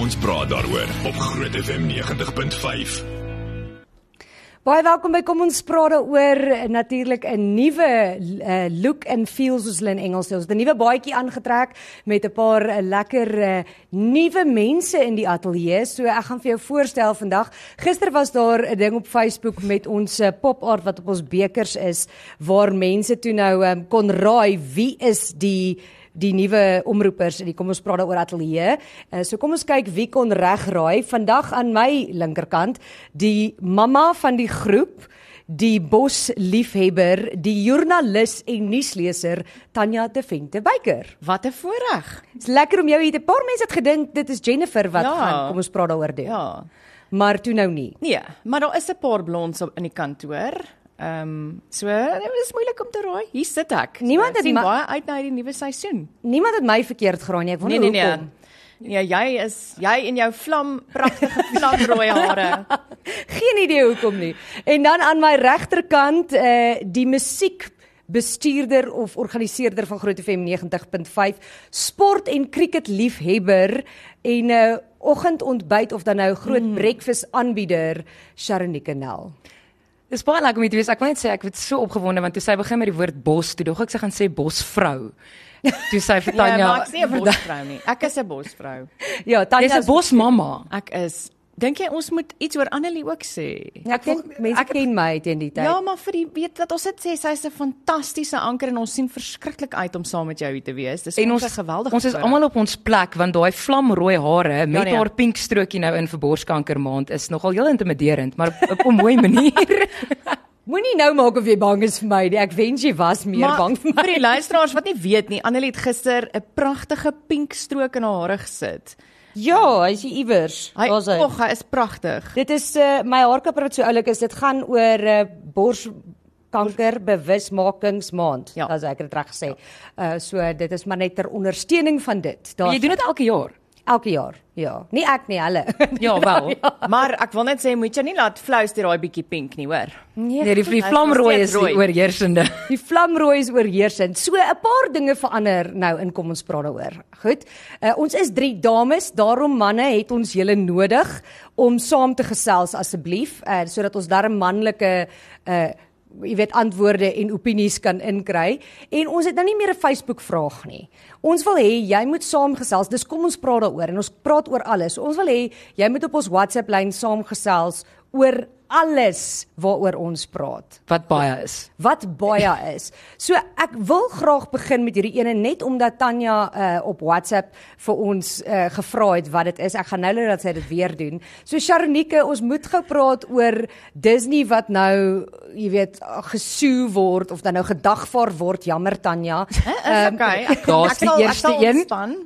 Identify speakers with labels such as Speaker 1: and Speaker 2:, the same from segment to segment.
Speaker 1: Ons praat daaroor op Groot FM 90.5.
Speaker 2: Baie welkom by Kom ons praat daaroor natuurlik 'n nuwe uh, look and feel soos hulle in Engels sê. Ons het 'n nuwe baadjie aangetrek met 'n paar uh, lekker uh, nuwe mense in die ateljee. So ek gaan vir jou voorstel vandag. Gister was daar 'n ding op Facebook met ons uh, pop art wat op ons bekers is waar mense toe nou um, kon raai wie is die die nuwe omroepers in die kom ons praat daaroor ateljee. Uh, so kom ons kyk wie kon reg raai. Vandag aan my linkerkant die mamma van die groep, die bosliefhebber, die joernalis en nuusleser Tanya Tevente Beyker.
Speaker 3: Wat 'n voorreg.
Speaker 2: Dit's lekker om jou hier te 'n paar mense het gedink dit is Jennifer wat
Speaker 3: Ja.
Speaker 2: gaan kom ons praat daaroor doen.
Speaker 3: Ja.
Speaker 2: Maar toe nou nie.
Speaker 3: Nee, maar daar is 'n paar blonds op in die kantoor. Ehm um, so dit is moeilik om te raai. Hier sit ek.
Speaker 2: Niemand
Speaker 3: Ek
Speaker 2: het
Speaker 3: sien
Speaker 2: ma-
Speaker 3: baie uit na hierdie nuwe seisoen.
Speaker 2: Niemand het my verkeerd geraai nie. Ek wonder nee, nee, hoekom. Nee.
Speaker 3: Nee, jy is jy en jou vlam pragtige vlamrooi hare.
Speaker 2: Geen idee hoekom nie. En dan aan my regterkant uh die musiek bestuurder of organiseerder van Groot FM 90.5, sport en krieket liefhebber en 'n uh, oggendontbyt of dan nou groot mm. breakfast aanbieder Sharonike Nel.
Speaker 4: Dis baie lekker om hier te wees. Ek wil net sê ek het so opgewonde want toe sy begin met die woord bos, toe dog ek sy gaan sê bosvrou. Toe sy vir
Speaker 3: Ja,
Speaker 4: Tanya,
Speaker 3: maar ek's nie 'n bosvrou nie. Ek is 'n bosvrou.
Speaker 2: Ja,
Speaker 4: "Jy's
Speaker 2: Tanya
Speaker 4: 'n bosmamma."
Speaker 3: Ek is Dink jy ons moet iets oor Annelie ook sê?
Speaker 2: Ja, ek dink mense
Speaker 3: ek
Speaker 2: ek, ken my teen die tyd.
Speaker 3: Ja, maar vir die weet wat ons dit sê, sy's 'n fantastiese anker en ons sien verskriklik uit om saam met jou hier te wees. Dis
Speaker 4: En
Speaker 3: vir
Speaker 4: ons
Speaker 3: ons 'n geweldige
Speaker 4: Ons is
Speaker 3: voorreg.
Speaker 4: almal op ons plek want daai vlamrooi hare met
Speaker 3: nee.
Speaker 4: haar pink strokie nou in vir borskanker maand is nogal heel intimiderend, maar op, op 'n mooi manier.
Speaker 2: Moenie nou maak of jy bang is vir my nie. Ek wens jy was meer maar, bang vir my.
Speaker 3: vir die luisteraars wat nie weet nie, Annelie het gister 'n pragtige pink strook in haar hare gesit.
Speaker 2: Ja, hy's hier iewers.
Speaker 3: Hy,
Speaker 2: Daar's
Speaker 3: och, hy is pragtig.
Speaker 2: Dit is uh, my haarkapper wat so oulik is. Dit gaan oor uh, borskanker bewusmakingsmaand.
Speaker 3: Ja.
Speaker 2: Ja. As ek dit reg sê. Uh so dit is maar net ter ondersteuning van dit. Daar
Speaker 4: Jy doen dit elke jaar.
Speaker 2: elke jaar. Ja. Nie ek nie, hulle.
Speaker 4: Ja, wel.
Speaker 3: Maar ek wil net sê moet jy nie laat fluister daai bietjie pink nie, hoor.
Speaker 4: Nee, die, die
Speaker 3: Hy is
Speaker 4: vlamrooi
Speaker 3: nog
Speaker 4: is
Speaker 3: steeds
Speaker 4: die
Speaker 3: rooi.
Speaker 4: oorheersende.
Speaker 2: Die vlamrooi is oorheersend. So 'n paar dinge verander nou in kom ons praat daaroor. Goed. Uh, ons is drie dames, daarom manne het ons julle nodig om saam te gesels asseblief, uh, sodat ons daar 'n manlike uh jy weet antwoorde en opinies kan inkry en ons het nou nie meer 'n Facebook vraag nie. Ons wil hê jy moet saamgesels. Dis kom ons praat daaroor en ons praat oor alles. Ons wil hê jy moet op ons WhatsApp lyn saamgesels oor alles waaroor ons praat
Speaker 4: Wat baie is.
Speaker 2: wat baie is. So ek wil graag begin met hierdie ene net omdat Tanya uh, op WhatsApp vir ons uh, gevra het wat dit is. Ek gaan nou net dat sy dit weer doen. So Sharonike, ons moet gou praat oor Disney wat nou, jy weet, gesue word of dan nou gedagvaar word. Jammer Tanya.
Speaker 3: Is okay. Ek,
Speaker 4: Ehm, daar's die
Speaker 3: ek
Speaker 4: eerste een.
Speaker 3: ontspan.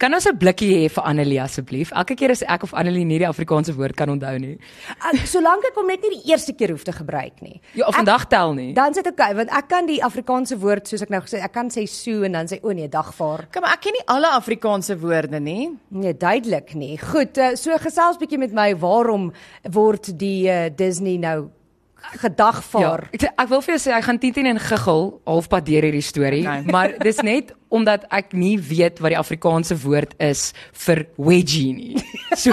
Speaker 4: Kan ons 'n blikkie hê vir Annelie asseblief? Elke keer as ek of Annelie nie die Afrikaanse woord kan onthou nie.
Speaker 2: Uh, solank ek hom net nie die eerste keer hoef te gebruik nie.
Speaker 4: Ja, vandag tel nie.
Speaker 2: Dan sit okay, want ek kan die Afrikaanse woord soos ek nou gesê, ek kan sê sue en dan sê o nee, dagvaar.
Speaker 3: Kom, maar ek ken nie alle Afrikaanse woorde nie.
Speaker 2: Nee, duidelik nie. Goed, eh, so gesels bietjie met my waarom word die uh, Disney nou gedagvaar?
Speaker 4: Ja, ek, ek wil vir jou sê ek gaan 10 10 en giggel halfpad deur hierdie storie,
Speaker 3: Okay.
Speaker 4: maar dis net omdat ek nie weet wat die Afrikaanse woord is vir wedgie nie. So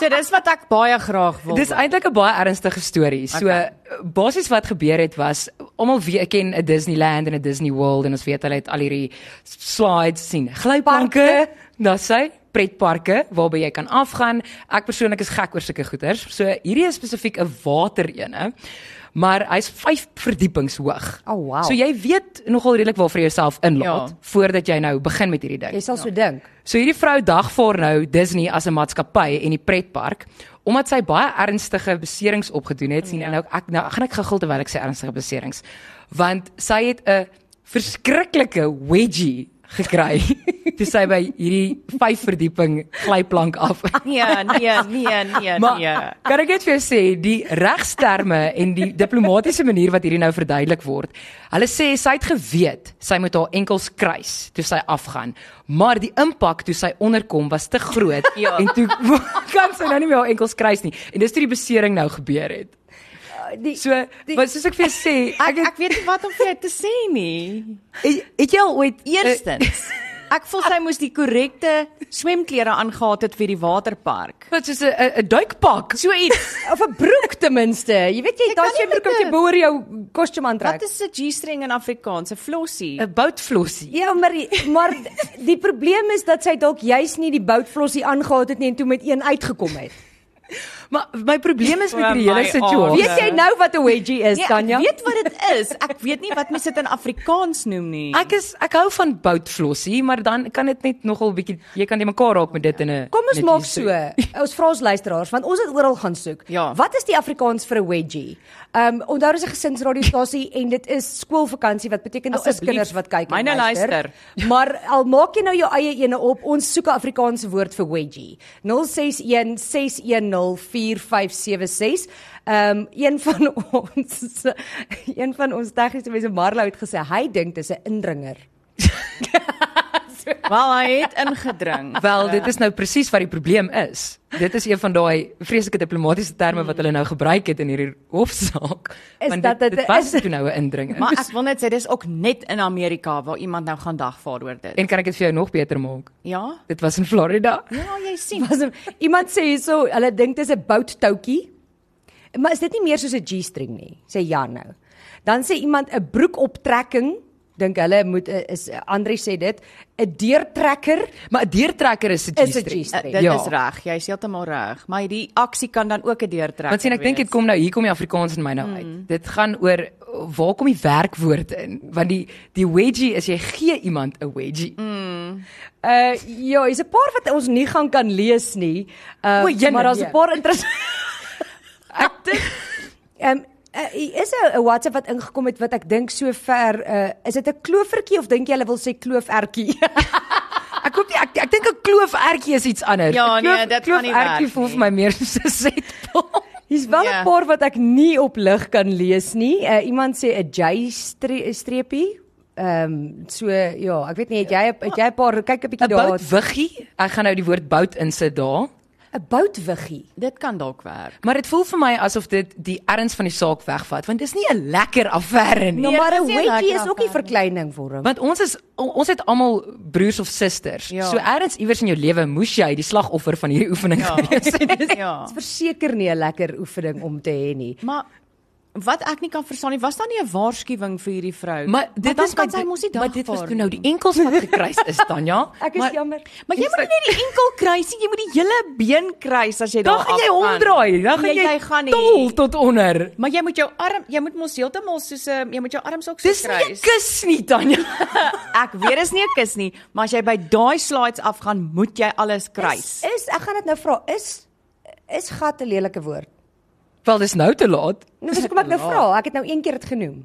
Speaker 3: So dis wat ek baie graag wil.
Speaker 4: dis eintlik 'n baie ernstige storie. So
Speaker 3: Okay.
Speaker 4: basies wat gebeur het was almal weet ken 'n Disneyland en 'n Disney World en ons weet hulle het al hierdie slides sien. Glyplanke, daar's hy pretparke waarby jy kan afgaan. Ek persoonlik is gek oor sulke goeders. So hierdie is spesifiek 'n waterene. Maar hy's 5 verdiepings hoog.
Speaker 2: Oh, wow.
Speaker 4: So jy weet nogal redelik waar vir jouself inlaat
Speaker 3: Ja.
Speaker 4: voordat jy nou begin met hierdie ding.
Speaker 2: Jy sal so dink.
Speaker 4: So hierdie vrou dagvaar nou Disney as 'n maatskappy en die pretpark omdat sy baie ernstige beserings opgedoen het. Sien en nou ek nou gaan ek gegil terwyl ek sy ernstige beserings want sy het 'n verskriklike wedgie gekry. Dis sy by hierdie vyf verdieping glyplank af.
Speaker 3: nee, nee, nee, nee,
Speaker 4: Maar
Speaker 3: nee.
Speaker 4: kan ek net vir jou sê die regsterme en die diplomatisiese manier wat hierdie nou verduidelik word. Hulle sê sy het geweet sy moet haar enkels kruis toe sy afgaan, maar die impak toe sy onderkom was te groot
Speaker 3: Ja.
Speaker 4: en toe kan sy nou nie meer haar enkels kruis nie. En dis toe die besering nou gebeur het.
Speaker 3: Eh,
Speaker 2: Uh, Die,
Speaker 4: So, wat soos ek vir jou sê,
Speaker 3: Ek ek weet nie wat om vir jou te sê nie.
Speaker 4: het, het jy al ooit eh,
Speaker 3: Eerstens, Ek voel sy moes die korrekte swemklere aangehad het vir die waterpark.
Speaker 4: Wat soos 'n 'n- 'n duikpak.
Speaker 3: So iets.
Speaker 2: of 'n broek ten minste. Jy weet jy
Speaker 3: Jy
Speaker 2: daai
Speaker 3: kan nie
Speaker 2: swembroek
Speaker 3: met
Speaker 2: wat jy
Speaker 3: een-
Speaker 2: boor jou kostuum aantrek.
Speaker 3: Wat is 'n G-string in Afrikaans? 'n Flossie.
Speaker 4: 'n boutflossie.
Speaker 2: Ja, maar maar die probleem is dat sy dalk juis nie die boutflossie aangehad het nie en toe met een uitgekom het.
Speaker 4: Maar my probleem is met
Speaker 3: Oh
Speaker 4: hierdie hele
Speaker 3: my aarde.
Speaker 4: situasie.
Speaker 2: Weet jy nou wat 'n wedgie is, Tanya?
Speaker 3: Ja, Nee, ek weet wat dit is. Ek weet nie wat mense dit in Afrikaans noem nie.
Speaker 4: Ek is ek hou van boutflossie, maar dan kan dit net nogal bietjie jy kan net mekaar raak met dit in 'n
Speaker 2: Kom ons
Speaker 4: met
Speaker 2: maak
Speaker 4: die-
Speaker 2: so. Ons vra ons luisteraars want ons het oral gaan soek.
Speaker 3: Ja.
Speaker 2: Wat is die Afrikaans vir 'n wedgie? Ehm um, onthou dis 'n gesinsradiostasie en dit is skoolvakansie wat beteken daar is
Speaker 3: Asseblief,
Speaker 2: kinders wat kyk en
Speaker 3: myne
Speaker 2: luister. Maar al maak jy nou jou eie ene op, ons soek 'n Afrikaanse woord vir wedgie. 061 610 4576. Ehm um, een van ons een van ons tegniese mense Marlo het gesê hy dink dis 'n indringer.
Speaker 3: Wel, hy het ingedring. Eh,
Speaker 4: Wel, dit is nou presies wat die probleem is. Dit is een van daai vreeslike diplomatiese terme wat hulle nou gebruik het in hierdie hofsaak.
Speaker 2: Is
Speaker 4: Want
Speaker 2: dat
Speaker 4: dit,
Speaker 2: dit-
Speaker 4: dit was
Speaker 2: is-
Speaker 4: toe nou 'n indring.
Speaker 3: Maar ek wil net sê dis ook net in Amerika waar iemand nou gaan dagvaar oor dit.
Speaker 4: En kan ek dit vir jou nog beter maak?
Speaker 3: Ja.
Speaker 4: Dit was in Florida.
Speaker 3: Ja, jy sien.
Speaker 2: Was hom- iemand sê hierso, hulle dink dit is 'n bouttoutjie. Maar is dit nie meer soos 'n G-string nie, sê Jan nou. Dan sê iemand 'n broekoptrekking, dink hulle moet eh, is Andre sê dit, 'n deurtrekker
Speaker 4: Maar 'n deurtrekker is 'n
Speaker 2: is 'n
Speaker 4: G-string.
Speaker 3: Uh,
Speaker 2: G-string.
Speaker 3: dit
Speaker 4: Ja.
Speaker 3: ja. is reg. Jy's heeltemal reg, maar die aksie kan dan ook 'n deurtrek.
Speaker 4: Want sien ek dink dit kom nou hier kom die Afrikaans in my nou uit. Mm. Dit gaan oor waar kom die werkwoord in? Want die die wedgie is jy gee iemand 'n wedgie. Mm. Eh,
Speaker 2: Uh ja, is 'n paar wat ons nie gaan kan lees nie. Uh
Speaker 4: O, jene,
Speaker 2: maar daar's 'n
Speaker 4: nee.
Speaker 2: paar interessante Ek dink ehm um, uh, is 'n 'n WhatsApp wat ingekom het wat ek dink sover uh is dit 'n klovertjie of dink jy hulle wil sê kloofertjie?
Speaker 4: Ek hoop nie, ek ek dink 'n kloofertjie is iets anders.
Speaker 3: Ja,
Speaker 4: Een kloof-
Speaker 3: nee, dit gaan nie werk
Speaker 4: kloofertjie voel
Speaker 3: nie.
Speaker 4: vir my meer soos 'n setpel.
Speaker 2: Hier's wel 'n
Speaker 3: Ja.
Speaker 2: paar wat ek nie op lig kan lees nie. Uh, iemand sê 'n J stre eh, streepie. Ehm um, so ja, ek weet nie het jy het jy 'n paar kyk 'n
Speaker 4: 'n
Speaker 2: bietjie daar.
Speaker 4: Boutwiggie. Ek gaan nou die woord bout insit daar.
Speaker 2: 'n Boutwiggie.
Speaker 3: dit kan dalk werk.
Speaker 4: Maar dit voel vir my asof dit die erns van die saak wegvat, want dis nie 'n lekker affære nie.
Speaker 2: Nou
Speaker 3: Nee,
Speaker 2: maar
Speaker 3: dit
Speaker 2: 'n
Speaker 3: is nie
Speaker 2: wedgie
Speaker 3: lekker
Speaker 2: is ook nie
Speaker 3: afwerking.
Speaker 2: verkleining vir hom.
Speaker 4: Want ons is o- ons het almal broers of susters.
Speaker 3: Ja.
Speaker 4: So ergens iewers in jou lewe moes jy die slagoffer van hierdie oefening
Speaker 3: Ja.
Speaker 4: gewees het.
Speaker 3: ja.
Speaker 2: Dit is verseker nie 'n lekker oefening om te hê nie.
Speaker 3: Maar wat ek nie kan verstaan nie, was daar nie 'n waarskuwing vir hierdie vrou?
Speaker 4: Maar dit
Speaker 3: dan
Speaker 4: is
Speaker 3: kan
Speaker 4: my-
Speaker 3: sy mos nie
Speaker 4: Maar dit was
Speaker 3: dagvaar
Speaker 4: toe nou die enkels wat gekruis is, Tanja.
Speaker 2: Ek is
Speaker 4: maar,
Speaker 2: jammer.
Speaker 3: Maar jy moet nie net die enkel kruis nie, jy moet die hele been kruis as jy daar
Speaker 4: Dan
Speaker 3: af.
Speaker 4: gaan jy
Speaker 3: gaan.
Speaker 4: omdraai, dan gaan
Speaker 3: Nee,
Speaker 4: jy,
Speaker 3: jy gaan nie.
Speaker 4: tol tot onder.
Speaker 3: Maar jy moet jou arm, jy moet mos heeltemal soos 'n jy moet jou arms ook so
Speaker 4: Dis nie 'n
Speaker 3: kruis.
Speaker 4: kus nie, Tanja.
Speaker 3: Ek weet is nie 'n kus nie, maar as jy by daai slides afgaan, moet jy alles kruis.
Speaker 2: Is, is ek gaan dit nou vra, is is gat 'n lelike woord?
Speaker 4: Wel, dis nou te laat.
Speaker 2: Nou dis hoekom ek nou
Speaker 3: Ja.
Speaker 2: vra. Ek het nou een keer dit genoem.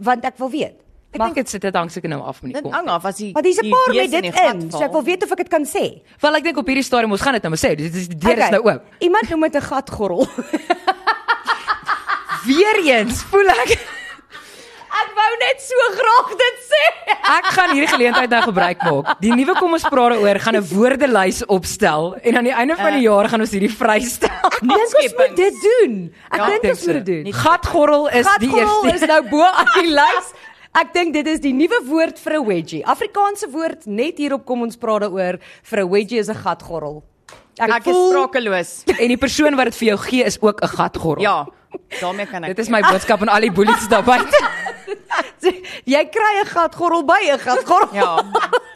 Speaker 2: Want ek wil weet.
Speaker 4: Ek
Speaker 2: Mag-
Speaker 4: dink dit sit dit hang seker nou af met
Speaker 3: Dit
Speaker 4: die kom.
Speaker 3: hang af as jy
Speaker 2: Maar dis 'n paar met
Speaker 3: bees
Speaker 2: dit
Speaker 3: die gat
Speaker 2: in. So
Speaker 3: val.
Speaker 2: ek wil weet of ek dit kan sê.
Speaker 4: Wel, ek dink op hierdie stadium ons gaan dit nou maar sê. Dit is die deur is
Speaker 2: Okay.
Speaker 4: nou oop.
Speaker 2: Iemand noem dit 'n gatgorrel.
Speaker 4: Weereens voel ek
Speaker 2: ek wou net so graag dit sê.
Speaker 4: Ek gaan hierdie geleentheid nou gebruik maak. Die nuwe kom ons praat daaroor, gaan 'n woordelys opstel en aan die einde van die jaar gaan ons hierdie vrystel.
Speaker 2: Ek dink ons moet dit doen. Ek
Speaker 3: Ja,
Speaker 2: dink
Speaker 4: Dink
Speaker 2: ons moet
Speaker 4: so.
Speaker 2: dit doen.
Speaker 4: Gatgorrel is die
Speaker 2: Gatgorrel
Speaker 4: eerste.
Speaker 2: is nou bo aan die lys. Ek dink dit is die nuwe woord vir 'n wedgie. Afrikaanse woord net hierop kom ons praat daaroor vir 'n wedgie is 'n gatgorrel.
Speaker 3: Ek is sprakeloos.
Speaker 4: En die persoon wat dit vir jou gee is ook 'n gatgorrel.
Speaker 3: Ja, daarmee kan ek.
Speaker 4: Dit is my boodskap aan al die bullies daar buite.
Speaker 2: Jy kry 'n gatgorrel by 'n gatgorrel.
Speaker 3: Ja.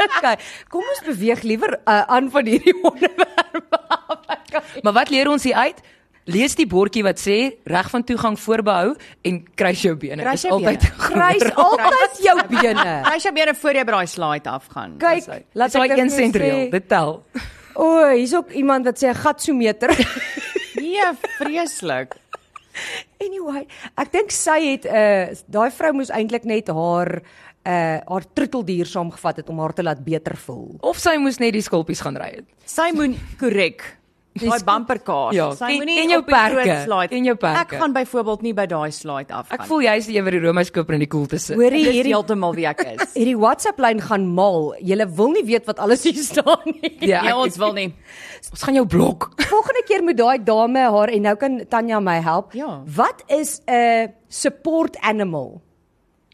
Speaker 2: okay. Kom ons beweeg liewer uh, aan van hierdie onderwerp.
Speaker 4: Maar wat leer ons hier uit? Lees die bordjie wat sê reg van toegang voorbehou en kruis jou bene.
Speaker 3: Kruis
Speaker 4: Dis
Speaker 3: jou
Speaker 4: altyd
Speaker 3: bene.
Speaker 2: Grys altyd jou bene.
Speaker 3: As jy weer voor jy by daai slide afgaan.
Speaker 2: Kyk,
Speaker 4: Laat daai
Speaker 2: nou
Speaker 4: 1
Speaker 2: vir
Speaker 4: sent
Speaker 2: jou sê-
Speaker 4: reël, dit tel.
Speaker 2: O, hier's ook iemand wat sê 'n gatsometer.
Speaker 3: Nee, vreeslik.
Speaker 2: anyway, ek dink sy het 'n uh, daai vrou moes eintlik net haar uh haar troeteldier saamgevat het om haar te laat beter voel.
Speaker 4: Of sy moes net die skulpies gaan ry het.
Speaker 3: Sy moet korrek. Daai bumperkaart.
Speaker 4: Ja,
Speaker 3: Sy
Speaker 4: ken-
Speaker 3: moenie
Speaker 4: ken jou
Speaker 3: op die groot
Speaker 4: perke,
Speaker 3: slide-
Speaker 4: ken jou perke.
Speaker 3: Ek gaan byvoorbeeld nie by daai slide afgaan.
Speaker 4: Ek voel jy's die een wat die roomys koper in die koelte sit.
Speaker 2: Hoorie
Speaker 3: dis
Speaker 2: hierdie
Speaker 3: heeltemal wie ek is.
Speaker 2: hierdie WhatsApp lyn gaan mal. Jy wil nie weet wat alles hier staan nie.
Speaker 4: Ja,
Speaker 3: Nee,
Speaker 4: ek-
Speaker 3: ons wil nie.
Speaker 4: Ons gaan jou blok.
Speaker 2: Volgende keer moet daai dame haar en nou kan Tanya my help.
Speaker 3: Ja.
Speaker 2: Wat is 'n support animal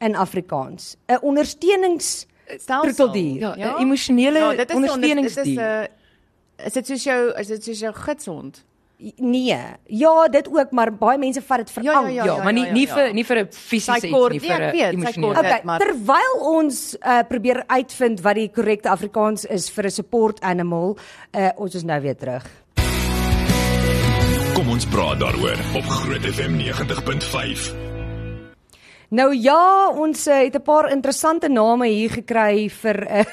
Speaker 2: in Afrikaans? 'n Ondersteunings
Speaker 3: stelsel.
Speaker 2: Troeteldier.
Speaker 4: Ja, 'n emosionele
Speaker 3: Ja, dit is
Speaker 4: ondersteuningsdier.
Speaker 3: Dit is 'n is dit soos jou is dit soos jou gidshond?
Speaker 2: Nee. Ja, dit ook, maar baie mense vat dit vir
Speaker 3: Ja, ja,
Speaker 2: al.
Speaker 4: ja, ja, maar nie
Speaker 3: ja,
Speaker 4: nie
Speaker 3: ja.
Speaker 4: vir nie vir 'n
Speaker 3: Sy
Speaker 4: fisiese iets
Speaker 3: kort,
Speaker 4: nie,
Speaker 3: nee,
Speaker 4: vir
Speaker 3: ek
Speaker 4: 'n
Speaker 3: weet, sy
Speaker 4: emosionele.
Speaker 3: kort.
Speaker 2: Okay,
Speaker 3: dit, maar-
Speaker 2: terwyl ons uh, probeer uitvind wat die korrekte Afrikaans is vir 'n support animal, uh, ons is nou weer terug.
Speaker 1: Kom ons praat daaroor op Groot FM 90.5.
Speaker 2: Nou ja, ons uh, het 'n paar interessante name hier gekry vir 'n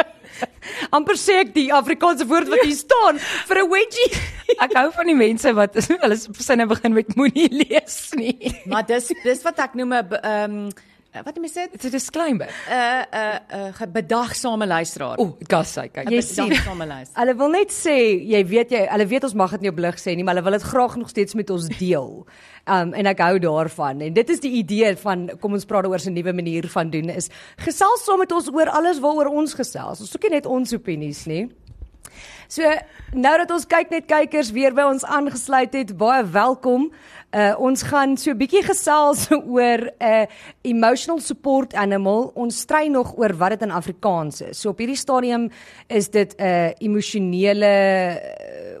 Speaker 2: amper sê ek die Afrikaanse woord wat hier staan vir 'n wedgie.
Speaker 4: Ek hou van die mense wat hulle sinne begin met moenie lees nie.
Speaker 3: Maar dis dis wat ek noem 'n be- ehm wat mense sê 'n
Speaker 4: Dit is 'n disclaimer.
Speaker 3: 'n 'n bedagsame luisteraar.
Speaker 4: O, gassy, kyk.
Speaker 2: Jy
Speaker 4: Jy
Speaker 2: sien.
Speaker 3: bedagsame luisteraar.
Speaker 2: Hulle wil net sê, jy weet jy, hulle weet ons mag dit nie op lig sê nie, maar hulle wil dit graag nog steeds met ons deel. Um en ek hou daarvan en dit is die idee van kom ons praat oor 'n nuwe manier van doen is gesels saam met ons oor alles waaroor ons gesels. Ons soek nie net ons opinies nie. So nou dat ons kyk net kykers weer by ons aangesluit het, baie welkom. Uh ons gaan so 'n bietjie gesels oor 'n uh, emotional support animal. Ons stry nog oor wat dit in Afrikaans is. So op hierdie stadium is dit 'n uh, emosionele uh,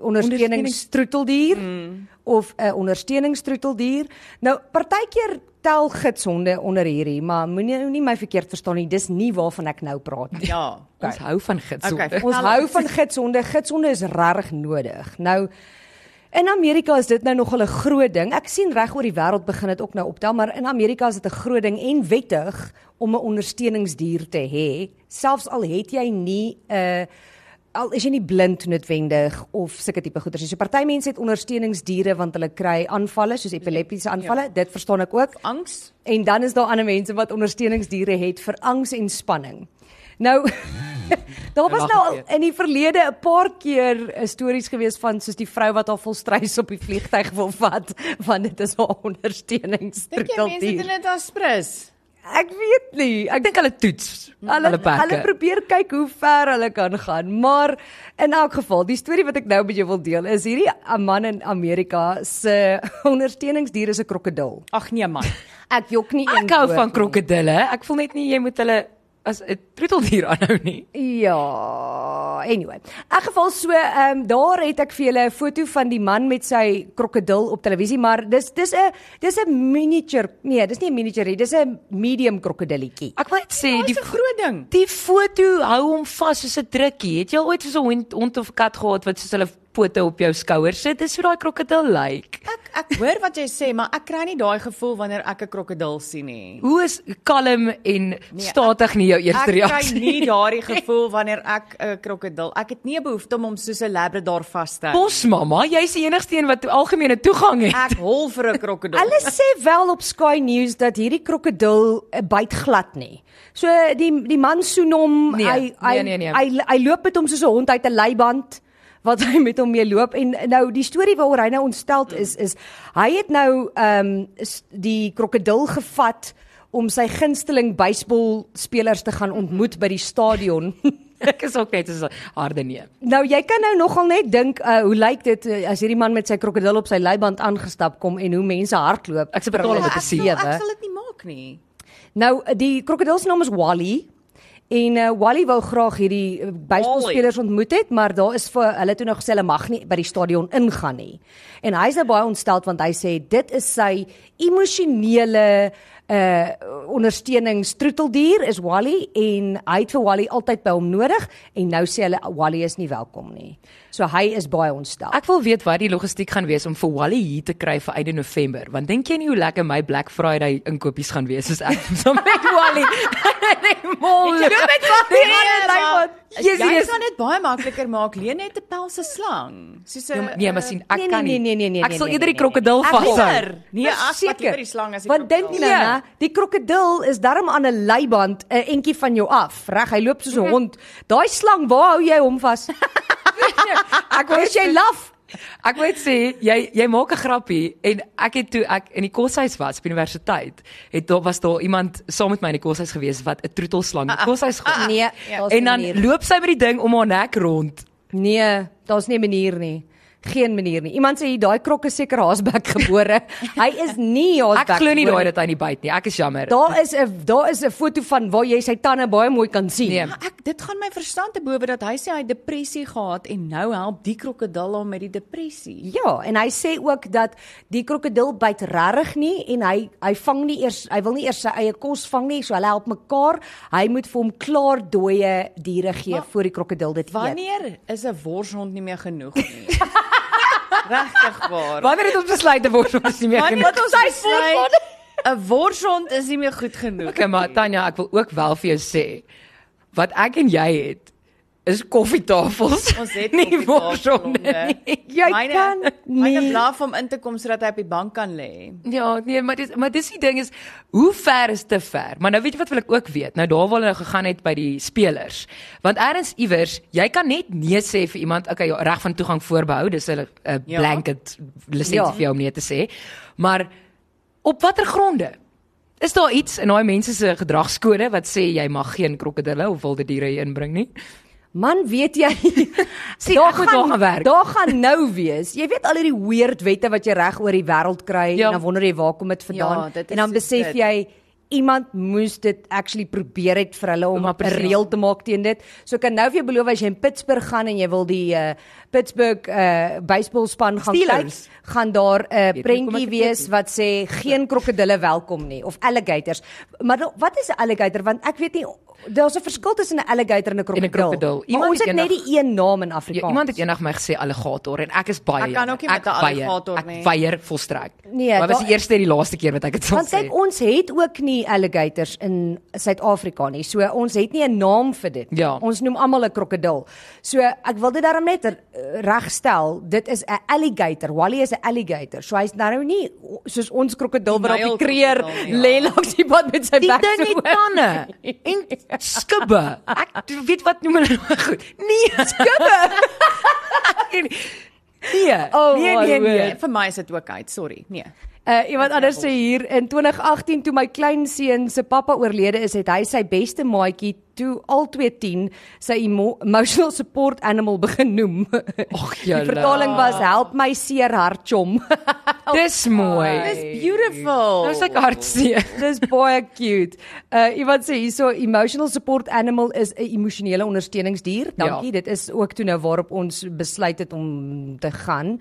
Speaker 2: ondersteuningstroeteldier mm. of 'n uh, ondersteuningstroeteldier. Nou partykeer tel gidshonde onder hierdie, maar moenie nou nie my verkeerd verstaan nie. Dis nie waarvan ek nou praat nie.
Speaker 3: Ja.
Speaker 4: ons hou van gidsonde.
Speaker 3: Okay.
Speaker 2: Ons
Speaker 3: Alles.
Speaker 2: hou van gidshonde. Gidshonde is regtig nodig. Nou in Amerika is dit nou nogal 'n groot ding. Ek sien reg oor die wêreld begin dit ook nou optel, maar in Amerika is dit 'n groot ding en wettig om 'n ondersteuningsdier te hê, selfs al het jy nie 'n al is jy nie blind noodwendig of sulke tipe goeders nie. So party mense het ondersteuningsdiere want hulle kry aanvalle soos epileptiese aanvalle. Ja. Dit verstaan ek ook.
Speaker 3: Angs.
Speaker 2: En dan is daar ander mense wat ondersteuningsdiere het vir angs en spanning. Nou daar was
Speaker 4: Mag
Speaker 2: nou
Speaker 4: ek
Speaker 2: al in die verlede 'n paar keer eh, stories gewees van soos die vrou wat haar volstrys op die vliegtyg wil vat want dit is haar
Speaker 3: Dink jy mense doen
Speaker 2: ondersteuningsstruktuur.
Speaker 3: dit as prins?
Speaker 2: Ek weet nie. Ek Hmm.
Speaker 4: Ek dink hulle toets
Speaker 2: Hulle
Speaker 4: hulle perke.
Speaker 2: hulle probeer kyk hoe ver hulle kan gaan, maar in elk geval, die storie wat ek nou met jou wil deel is hierdie eh, man in Amerika se ondersteuningsdier is 'n krokodil.
Speaker 3: Ag nee man.
Speaker 2: Ek jok nie een
Speaker 4: Ek hou
Speaker 2: woord
Speaker 4: van
Speaker 2: nie.
Speaker 4: krokodille. Ek voel net nie jy moet hulle as 'n troeteldier aanhou nie.
Speaker 2: Ja, anyway. In geval so, ehm um, daar het ek vir julle 'n foto van die man met sy krokodil op televisie, maar dis dis 'n dis 'n miniature. Nee, dis nie 'n miniature nie, dis 'n medium krokodilletjie.
Speaker 4: Ek wil net sê die
Speaker 3: Dis 'n groot ding.
Speaker 4: die foto hou hom vas soos 'n drukkie. Het jy al ooit so 'n hond, hond of kat gehad wat soos hulle pote op jou skouers sit? Dis hoe daai krokodil lyk. Like.
Speaker 3: Ek ek hoor wat jy sê, maar ek kry nie daai gevoel wanneer ek 'n krokodil sien nie.
Speaker 4: Hoe is kalm en statig nie jou eerste
Speaker 3: Nee, Ek kry
Speaker 4: reaksie
Speaker 3: nie daardie gevoel wanneer ek 'n krokodil. Ek het nie 'n behoefte om hom soos 'n labrador vas te hou.
Speaker 4: Bos mamma, jy's die enigste een wat toe- algemene toegang het.
Speaker 3: Ek hol vir 'n krokodil.
Speaker 2: Hulle sê wel op Sky News dat hierdie krokodil eh, byt glad nie. So die die man soen hom,
Speaker 4: Nee,
Speaker 2: hy
Speaker 4: nee,
Speaker 2: hy
Speaker 4: nee, nee.
Speaker 2: hy hy loop met hom soos 'n hond uit 'n leiband wat hy met hom mee loop en nou die storie waaroor hy nou ontsteld is is hy het nou ehm um, die krokodil gevat om sy gunsteling baseball spelers te gaan ontmoet by die stadion.
Speaker 4: Ek is ook net so harde nee.
Speaker 2: Nou jy kan nou nogal net dink uh, hoe lyk dit uh, as hierdie man met sy krokodil op sy leiband aangestap kom en hoe mense hardloop.
Speaker 4: Ek se betaal om dit
Speaker 3: ek
Speaker 4: te sien.
Speaker 3: sal- Ek sal dit nie maak nie.
Speaker 2: Nou die krokodil se naam is Wally. En uh, Wally wou graag hierdie eh, baseballspelers ontmoet het, maar daar is vir hulle toe nou gesê hulle mag nie by die stadion ingaan nie. En hy's nou baie ontsteld want hy sê dit is sy emosionele uh ondersteuningstroeteldier is Wally en hy het vir Wally altyd by hom nodig en nou sê hulle Wally is nie welkom nie. So hy is baie ontstel.
Speaker 4: Ek wil weet wat die logistiek gaan wees om vir Wally hier te kry vir einde November, want dink jy nie hoe lekker my Black Friday inkopies gaan wees as ek saam met Wally nee, mol.
Speaker 2: Jy loop met Wally aan die
Speaker 3: Nee, maar-
Speaker 2: lyn.
Speaker 4: Yes,
Speaker 3: jy
Speaker 4: yes.
Speaker 3: kan dit baie makliker maak. Leen net 'n pelse slang. Soos 'n
Speaker 4: Nee, maar sien, ek
Speaker 2: nee,
Speaker 4: kan nie.
Speaker 2: nee, nee, nee, nee,
Speaker 4: Ek sal
Speaker 2: nee,
Speaker 4: eerder
Speaker 2: nee, nee,
Speaker 4: die krokodil
Speaker 3: Ek
Speaker 4: vashou.
Speaker 3: hoor. Nee, as wat
Speaker 2: Verseker.
Speaker 3: liever die slang as die
Speaker 2: Want dink
Speaker 3: krokodil.
Speaker 2: nou, ja. die krokodil is darm aan 'n leiband 'n entjie van jou af, reg? Hy loop
Speaker 4: Mhm.
Speaker 2: soos 'n hond. Daai slang, waar hou jy hom vas? Ek wou jy laf.
Speaker 4: Ek wil net sê jy jy maak 'n grappie en ek het toe ek in die koshuis was by die universiteit, het daar was daar iemand saam met my in die koshuis gewees wat 'n troetelslang in die koshuis gehad.
Speaker 2: Nee,
Speaker 4: En dan
Speaker 2: loop
Speaker 4: loop sy met die ding om haar nek rond.
Speaker 2: Nee, daar's nie 'n manier nie. geen manier nie. Iemand sê hier daai krok is seker haasbek gebore. hy is nie haasbek.
Speaker 4: Ek glo nie
Speaker 2: gebore
Speaker 4: daai dat hy nie byt nie. Ek is jammer.
Speaker 2: Daar is 'n daar is 'n foto van waar jy sy tande baie mooi kan sien.
Speaker 4: Nee.
Speaker 3: Maar ek dit gaan my verstand te bowe dat hy sê hy het depressie gehad en nou help die krokodil hom met die depressie.
Speaker 2: Ja, en hy sê ook dat die krokodil byt regtig nie en hy hy vang nie eers hy wil nie eers sy eie kos vang nie, so hulle help mekaar. Hy moet vir hom klaar dooie diere gee
Speaker 3: Maar
Speaker 2: voor die krokodil dit eet.
Speaker 3: Wanneer is 'n worshond nie meer genoeg nie? Regtig waar.
Speaker 4: Wanneer het ons besluit te word ons nie meer
Speaker 3: Wanneer
Speaker 4: genoeg?
Speaker 3: het ons besluit 'n worshond is nie meer goed genoeg
Speaker 4: Okay, maar Tanya, ek wil ook wel vir jou sê wat ek en jy het is koffietafels.
Speaker 3: Ons het
Speaker 4: nie
Speaker 3: koffietafels,
Speaker 4: worshonde
Speaker 3: Londen.
Speaker 4: nie.
Speaker 2: Jy
Speaker 3: myne,
Speaker 2: kan
Speaker 3: myne
Speaker 2: nie.
Speaker 3: blaf om in te kom sodat hy op die bank kan lê.
Speaker 4: Ja, nee, maar dis maar dis die ding is hoe ver is te ver? Maar nou weet jy wat wil ek ook weet? Nou daar waar hulle nou gegaan het by die spelers. Want eers iewers, jy kan net nee sê vir iemand, okay, ja, reg van toegang voorbehou, dis 'n 'n
Speaker 3: Ja.
Speaker 4: blanket lisensie
Speaker 2: Ja.
Speaker 4: vir jou om nee te sê. Maar op watter gronde? Is daar iets in daai mense se gedragskode wat sê jy mag geen krokodille of wilde diere hier inbring nie?
Speaker 2: Man, weet jy,
Speaker 4: Sien,
Speaker 2: daar
Speaker 4: ek moet daar gaan werk.
Speaker 2: Daar gaan nou wees. Jy weet al hierdie weird wette wat jy reg oor die wêreld kry
Speaker 4: Ja.
Speaker 2: en dan wonder jy waar kom dit vandaan?
Speaker 3: Ja, dit is
Speaker 2: en dan
Speaker 3: soos
Speaker 2: besef
Speaker 3: dit.
Speaker 2: jy iemand moes dit actually probeer het vir hulle om
Speaker 4: Maar
Speaker 2: 'n
Speaker 4: presies.
Speaker 2: reël te maak teen dit. So ek kan nou vir jou beloof as jy in Pittsburgh gaan en jy wil die uh, Pittsburgh uh, baseballspan gaan
Speaker 4: Steelers.
Speaker 2: kyk, gaan daar 'n
Speaker 4: nie
Speaker 2: uh,
Speaker 4: hoekom ek
Speaker 2: prentjie
Speaker 4: dit weet
Speaker 2: wees wat sê geen krokodille welkom nie of alligators. Maar nou, wat is 'n alligator? Want ek weet nie daar's 'n verskil tussen 'n alligator en 'n
Speaker 4: En 'n
Speaker 2: Iemand
Speaker 4: krokodil.
Speaker 2: maar
Speaker 4: Iemand
Speaker 2: ons het
Speaker 4: het
Speaker 2: net die een naam in Afrikaans.
Speaker 4: Ja, iemand het eendag my gesê alligator en ek is baie
Speaker 3: Ek kan
Speaker 4: jammer.
Speaker 3: ook nie met
Speaker 4: Ek
Speaker 3: 'n
Speaker 4: weier.
Speaker 3: alligator nie.
Speaker 4: Ek weier volstrek.
Speaker 2: Nee,
Speaker 4: maar was
Speaker 2: daar-
Speaker 4: die eerste en die laaste keer wat ek dit sal
Speaker 2: Want
Speaker 4: sê.
Speaker 2: kyk, ons het ook nie alligators in Suid-Afrika nie. So ons het nie 'n naam vir dit. nie.
Speaker 4: Ja.
Speaker 2: Ons noem almal 'n krokodil. So ek wil dit daarom net eh, regstel. Dit is 'n alligator. Wally is 'n alligator. So hy's nou nie o- soos ons krokodil wat op die kreer
Speaker 3: Nylkrokodil, ja.
Speaker 2: lê langs die pad met sy
Speaker 4: Die
Speaker 2: bek
Speaker 4: ding
Speaker 2: so.
Speaker 4: het tande en skubbe. Ek weet wat noem hulle nou goed. Nee, skubbe. nee.
Speaker 2: Oh,
Speaker 4: nee,
Speaker 2: my
Speaker 4: nee, nee.
Speaker 3: Nee, vir my is dit ook uit, sorry. Nee.
Speaker 2: Uh, iemand anders sê hier in 2018 toe my kleinseun se pappa oorlede is, het hy sy beste maatjie toe al 210 sy emo emotional support animal begin noem.
Speaker 4: Ag,
Speaker 2: Die oh.
Speaker 4: julle.
Speaker 2: vertaling was help my seer hart chom.
Speaker 4: Dis mooi.
Speaker 3: Dis beautiful.
Speaker 4: nou is ek hartseer.
Speaker 2: Dis baie cute. Uh iemand sê hierso emotional support animal is 'n emosionele ondersteuningsdier. Dankie, dit is ook toe nou waarop ons besluit het om te gaan.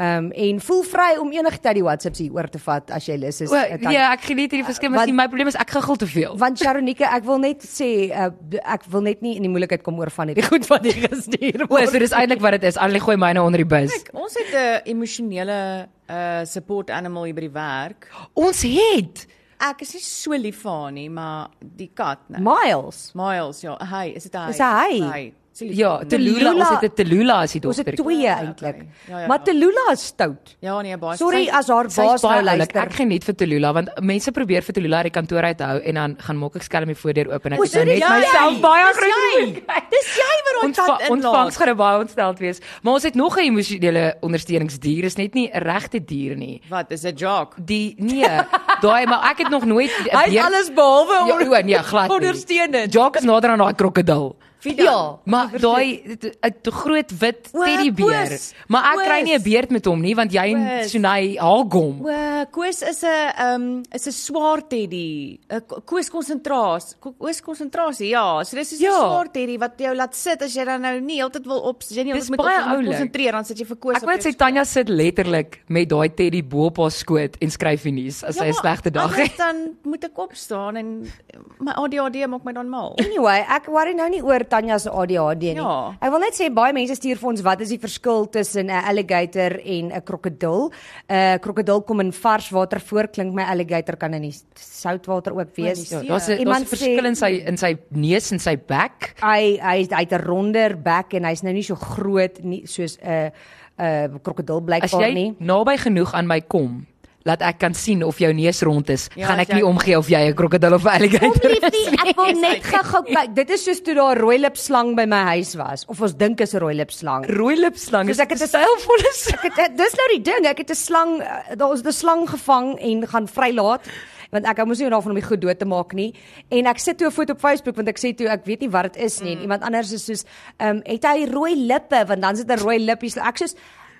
Speaker 2: Ehm um, en voel vry om enige tyd die WhatsApps hier oor te vat as jy lus is.
Speaker 4: O,
Speaker 2: Uh, Tannie.
Speaker 4: Ja, ek geniet hierdie verskil,
Speaker 2: Want-
Speaker 4: maar my probleem is ek giggel te veel.
Speaker 2: Want Sharonike, ek wil net sê uh, b- ek wil net nie in die moeilikheid kom oor van hierdie goed wat jy gestuur
Speaker 4: O, so
Speaker 2: word.
Speaker 4: dis eintlik wat dit is. Al gooi myne onder die bus.
Speaker 3: Kyk, ons het 'n emosionele uh support animal hier by die werk.
Speaker 4: Ons het
Speaker 3: Ek is nie so lief vir haar nie, maar die kat, nee.
Speaker 2: Miles.
Speaker 3: Miles, ja, hy, is dit hy?
Speaker 2: Is hy?
Speaker 3: Hy. Is hy lief
Speaker 4: ja,
Speaker 3: vir hom?
Speaker 4: Telula,
Speaker 2: Telula-
Speaker 4: ons het 'n Telula as die
Speaker 2: Ons het
Speaker 4: dogter.
Speaker 2: twee
Speaker 3: Ja,
Speaker 2: eintlik.
Speaker 3: okay. Ja, ja,
Speaker 2: Maar
Speaker 3: ja.
Speaker 2: Telula is stout.
Speaker 3: Ja, nee, baie.
Speaker 2: Sorry
Speaker 3: sy-
Speaker 2: as haar
Speaker 4: Sy's
Speaker 2: baas nou
Speaker 4: baie oulik.
Speaker 2: luister.
Speaker 4: Ek geniet vir Telula want mense probeer vir Telula uit die kantoor uithou en dan gaan maak ek skelm die voordeur oop en ek
Speaker 2: O,
Speaker 4: is nou
Speaker 2: so
Speaker 4: net
Speaker 2: dis
Speaker 3: jy.
Speaker 4: myself baie
Speaker 3: Dis jy.
Speaker 4: groot.
Speaker 3: Dis jy wat daai kat
Speaker 4: Ontva-
Speaker 3: inlaat.
Speaker 4: Ontvangs gaan nou baie ontsteld wees. Maar ons het nog 'n emosionele ondersteuningsdier, is net nie 'n regte dier nie.
Speaker 3: Wat is 'n jock?
Speaker 4: Die nee, daai maar ek het nog nooit 'n
Speaker 2: Hy
Speaker 4: beer-
Speaker 2: is alles behalwe
Speaker 4: Ja,
Speaker 2: onder-
Speaker 4: o, nee, glad nie.
Speaker 2: ondersteunend.
Speaker 4: Jock is nader aan daai krokodil.
Speaker 3: Wie dan?
Speaker 2: Ja.
Speaker 4: Maar daai 'n groot wit
Speaker 3: O,
Speaker 4: teddybeer.
Speaker 3: Koos,
Speaker 4: Maar ek kry nie
Speaker 3: Koos.
Speaker 4: 'n beerd met hom nie want jy en
Speaker 3: Koos.
Speaker 4: Sunay haal hom.
Speaker 3: O, Koos is 'n ehm um, is 'n swaar teddy. 'n Ko- Koos konsentrasie. Koos konsentrasie. Ja, so dis is 'n
Speaker 4: Ja.
Speaker 3: swaar teddy wat jou laat sit as jy dan nou nie heeltyd wil op, as jy nie
Speaker 4: Dis
Speaker 3: heeltyd moet
Speaker 4: baie
Speaker 3: op jy moet
Speaker 4: oulik.
Speaker 3: konsentreer, dan sit jy vir Koos
Speaker 4: Ek weet
Speaker 3: jou
Speaker 4: sy Tanya sit letterlik met daai teddy bo op haar skoot en skryf die nuus as
Speaker 3: Ja,
Speaker 4: sy 'n
Speaker 3: maar
Speaker 4: slegte dag
Speaker 3: anders
Speaker 4: het.
Speaker 3: Dan moet ek opstaan en my ADHD maak my dan mal.
Speaker 2: Anyway, ek worry nou nie oor Tanya se ADHD nie.
Speaker 3: Ja.
Speaker 2: Ek wil net sê baie mense stuur vir ons wat is die verskil tussen 'n alligator en 'n krokodil? 'n uh, Krokodil kom in vars water voor, klink my alligator kan in die soutwater ook wees.
Speaker 4: Ja, daar's 'n daar's 'n
Speaker 2: Iemand
Speaker 4: verskil
Speaker 2: sê-
Speaker 4: in sy in sy neus en sy bek.
Speaker 2: Hy hy hy het 'n ronder bek en hy's nou nie so groot nie soos 'n uh, 'n uh, krokodil
Speaker 4: As
Speaker 2: blykbaar
Speaker 4: jy
Speaker 2: nie.
Speaker 4: naby genoeg aan my kom, laat ek kan sien of jou neus rond is,
Speaker 3: Ja,
Speaker 4: gaan
Speaker 3: as
Speaker 4: ek nie
Speaker 3: jy-
Speaker 4: omgee of jy 'n krokodil of 'n alligator is.
Speaker 2: Liefie, ek wil net gou-gou kyk. Dit is soos toe daar 'n rooi lipslang by my huis was of ons dink is 'n rooi lipslang.
Speaker 4: Rooi lipslang
Speaker 2: Soos
Speaker 4: is
Speaker 2: ek het 'n
Speaker 4: stylvolle slang.
Speaker 2: Ek het dis nou die ding, ek het 'n slang, eh, daar is 'n slang gevang en gaan vrylaat want ek hou mos nie daarvan om die goed dood te maak nie. En ek sit toe 'n foto op Facebook want ek sê toe ek weet nie
Speaker 4: Mm.
Speaker 2: wat dit is nie. En iemand anders is soos, ehm um, het hy rooi lippe want dan sit 'n rooi lippies. Ek soos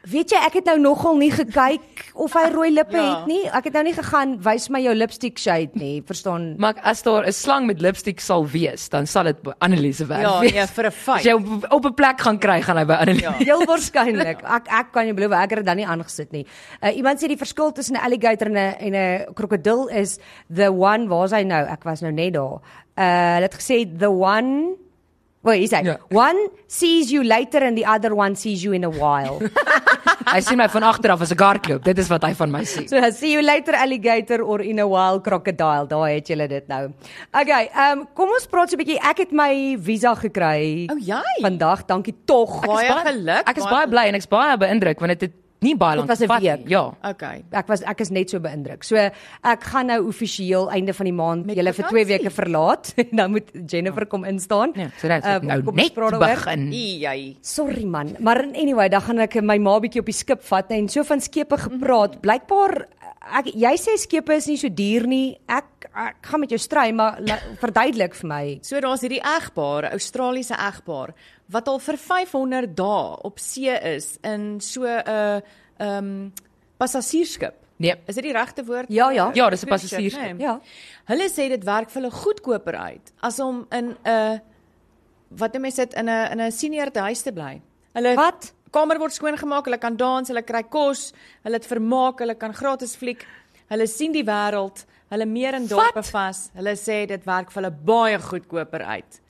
Speaker 2: Weet jy, ek het nou nogal nie gekyk of hy rooi lippe
Speaker 3: Ja.
Speaker 2: het nie. Ek het nou nie gegaan wys my jou lipstick shade nie, verstaan?
Speaker 4: Maar as daar 'n slang met lipstiek sal wees, dan sal dit by Annelise werk.
Speaker 3: Ja,
Speaker 4: wees.
Speaker 3: nee, vir 'n feit.
Speaker 4: As jy op, op 'n plek gaan kry, gaan hy by Annelise.
Speaker 3: Ja.
Speaker 2: Heel waarskynlik. Ek ek kan jou beloof ek het dit dan nie aangesit nie. Uh, iemand sê die verskil tussen 'n alligator en 'n en 'n krokodil is the one waar's hy nou? Ek was nou net daar. Uh hulle het gesê the one Wel, is hy.
Speaker 4: Ja.
Speaker 2: One sees you later and the other one sees you in a while.
Speaker 4: Hy sien my van agter af as 'n garklop. Dit is wat hy van my sien.
Speaker 2: so see you later alligator or in a while crocodile. Daar het julle dit nou. Okay, ehm um, kom ons praat so 'n bietjie. Ek het my visa gekry.
Speaker 3: O, Oh, jy?
Speaker 2: Vandag, dankie tog.
Speaker 4: Oh, Ek is
Speaker 3: Baie
Speaker 4: baie-
Speaker 3: geluk,
Speaker 4: Ek is
Speaker 3: baie
Speaker 4: baie bly en ek's baie beïndruk want dit het nie baie
Speaker 2: Dit
Speaker 4: lank
Speaker 2: was 'n
Speaker 4: gevat nie.
Speaker 2: week.
Speaker 4: Ja.
Speaker 3: Okay.
Speaker 2: ek was ek is net so beïndruk. So ek gaan nou amptelik einde van die maand
Speaker 3: Met
Speaker 2: julle vir 2
Speaker 3: vakansie.
Speaker 2: weke verlaat en dan moet Jennifer kom instaan.
Speaker 4: Ja, so dit
Speaker 2: Eh,
Speaker 4: um, nou
Speaker 2: kom ons
Speaker 4: net
Speaker 2: praat daaroor.
Speaker 4: begin.
Speaker 3: Jy.
Speaker 2: Sorry man, maar anyway, dan gaan ek my ma bietjie op die skip vat en so van skepe
Speaker 4: Mhm.
Speaker 2: gepraat. Blykbaar ek jy sê skepe is nie so duur nie. Ek ek gaan met jou stry, maar la, verduidelik vir my.
Speaker 3: So daar's hierdie egpaar, 'n Australiese egpaar wat al vir 500 dae op see is in so 'n ehm um, passasiersskip.
Speaker 4: Nee.
Speaker 3: Is dit die regte woord?
Speaker 2: Ja, ja.
Speaker 4: Ja, dis 'n
Speaker 3: Cruise ship,
Speaker 4: passasiersskip.
Speaker 3: nee.
Speaker 2: Ja.
Speaker 3: Hulle sê dit werk vir hulle goedkoper uit as om in 'n wat noem jy dit in 'n in 'n senior te huis te bly. Hulle
Speaker 2: Wat?
Speaker 3: kamer word skoongemaak, hulle kan dans, hulle kry kos, hulle het vermaak, hulle kan gratis fliek. Hulle sien die wêreld, hulle meer in dorpe
Speaker 4: Wat?
Speaker 3: vas. Hulle sê dit werk vir hulle baie goedkoper uit.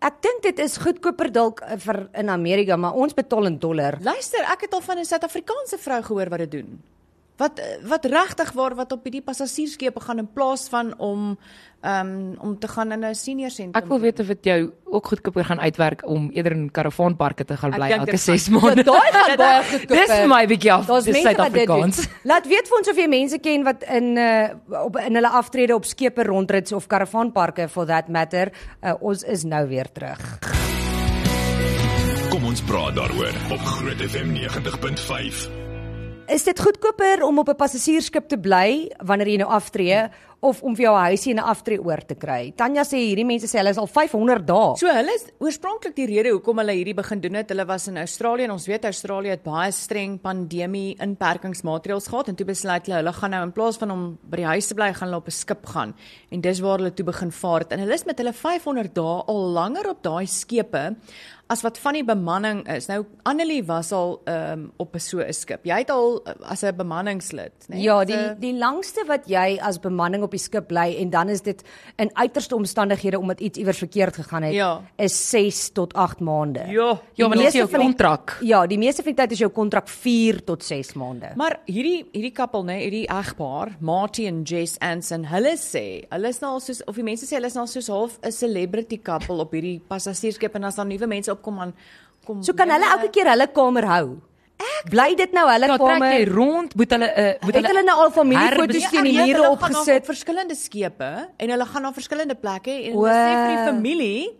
Speaker 2: Ek dink dit is goedkoper dalk eh, vir in Amerika, maar ons betaal in dollar.
Speaker 3: Luister, ek het al van 'n Suid-Afrikaanse vrou gehoor wat dit doen. Wat eh, wat regtig waar wat op hierdie passasiersskepe gaan in plaas van om ehm um, om te gaan in 'n senior sentrum.
Speaker 4: Ek wil weet of dit jou ook goedkoper gaan uitwerk om eerder in karavaanparke te gaan
Speaker 3: Ek
Speaker 4: bly
Speaker 3: dink
Speaker 4: elke
Speaker 3: dit
Speaker 4: 6
Speaker 3: gaan-
Speaker 4: maande.
Speaker 2: Ja, Daai gaan baie goedkoper.
Speaker 4: Dis vir my bietjie af.
Speaker 2: Daar's
Speaker 4: Dis
Speaker 2: mense wat dit doen.
Speaker 4: Suid-Afrikaans.
Speaker 2: Laat weet vir ons of jy mense ken wat in uh op in hulle aftrede op skepe rondrits of karavaanparke for that matter. Uh, ons is nou weer terug.
Speaker 1: Kom ons praat daaroor op Groot FM 90.5.
Speaker 2: Is dit goedkoper om op 'n passasiersskip te bly wanneer jy nou aftree of om vir jou 'n huisie en 'n aftreeoor te kry? Tanya sê hierdie mense sê hulle is al 500 dae.
Speaker 3: So hulle is oorspronklik die rede hoekom hulle hierdie begin doen het. Hulle was in Australië en ons weet Australië het baie streng pandemie inperkingsmaatreëls gehad en toe besluit hulle hulle gaan nou in plaas van om by die huis te bly, gaan hulle op 'n skip gaan. En dis waar hulle toe begin vaar het. En hulle is met hulle 500 dae al langer op daai skepe as wat van die bemanning is. Nou Annelie was al um, op 'n so 'n skip. Jy het al eh, as 'n bemanningslid,
Speaker 4: Nee,
Speaker 3: né?
Speaker 2: Ja,
Speaker 3: So-
Speaker 2: die die langste wat jy as bemanning op die skip bly en dan is dit in uiterste omstandighede omdat iets iewers verkeerd gegaan het,
Speaker 3: Ja.
Speaker 2: is 6 tot 8 maande.
Speaker 3: Ja.
Speaker 4: Ja, want dit is
Speaker 2: meeste
Speaker 4: jou
Speaker 2: van die-
Speaker 4: kontrak.
Speaker 2: Ja, die meeste van die tyd is jou kontrak 4 tot 6 maande.
Speaker 3: Maar hierdie hierdie koppel nê, hierdie egpaar, Marty en Jess Anson, hulle sê, hulle is nou al soos of die mense sê hulle is nou al soos half 'n celebrity koppel op hierdie passasiersskip en as daar nuwe mense opkom dan kom
Speaker 2: So kan hulle elke keer hulle kamer hou. Ek bly dit nou hulle
Speaker 4: Ja, trek jy
Speaker 2: kamer.
Speaker 4: rond, moet hulle 'n uh, moet
Speaker 2: Het hulle nou al familiefoto's
Speaker 4: herbes-
Speaker 2: teen die
Speaker 3: weet,
Speaker 2: mure
Speaker 3: Ja, hulle gaan na
Speaker 2: opgesit?
Speaker 3: verskillende skepe en hulle gaan na verskillende plekke en
Speaker 2: O.
Speaker 3: hulle sê vir die familie,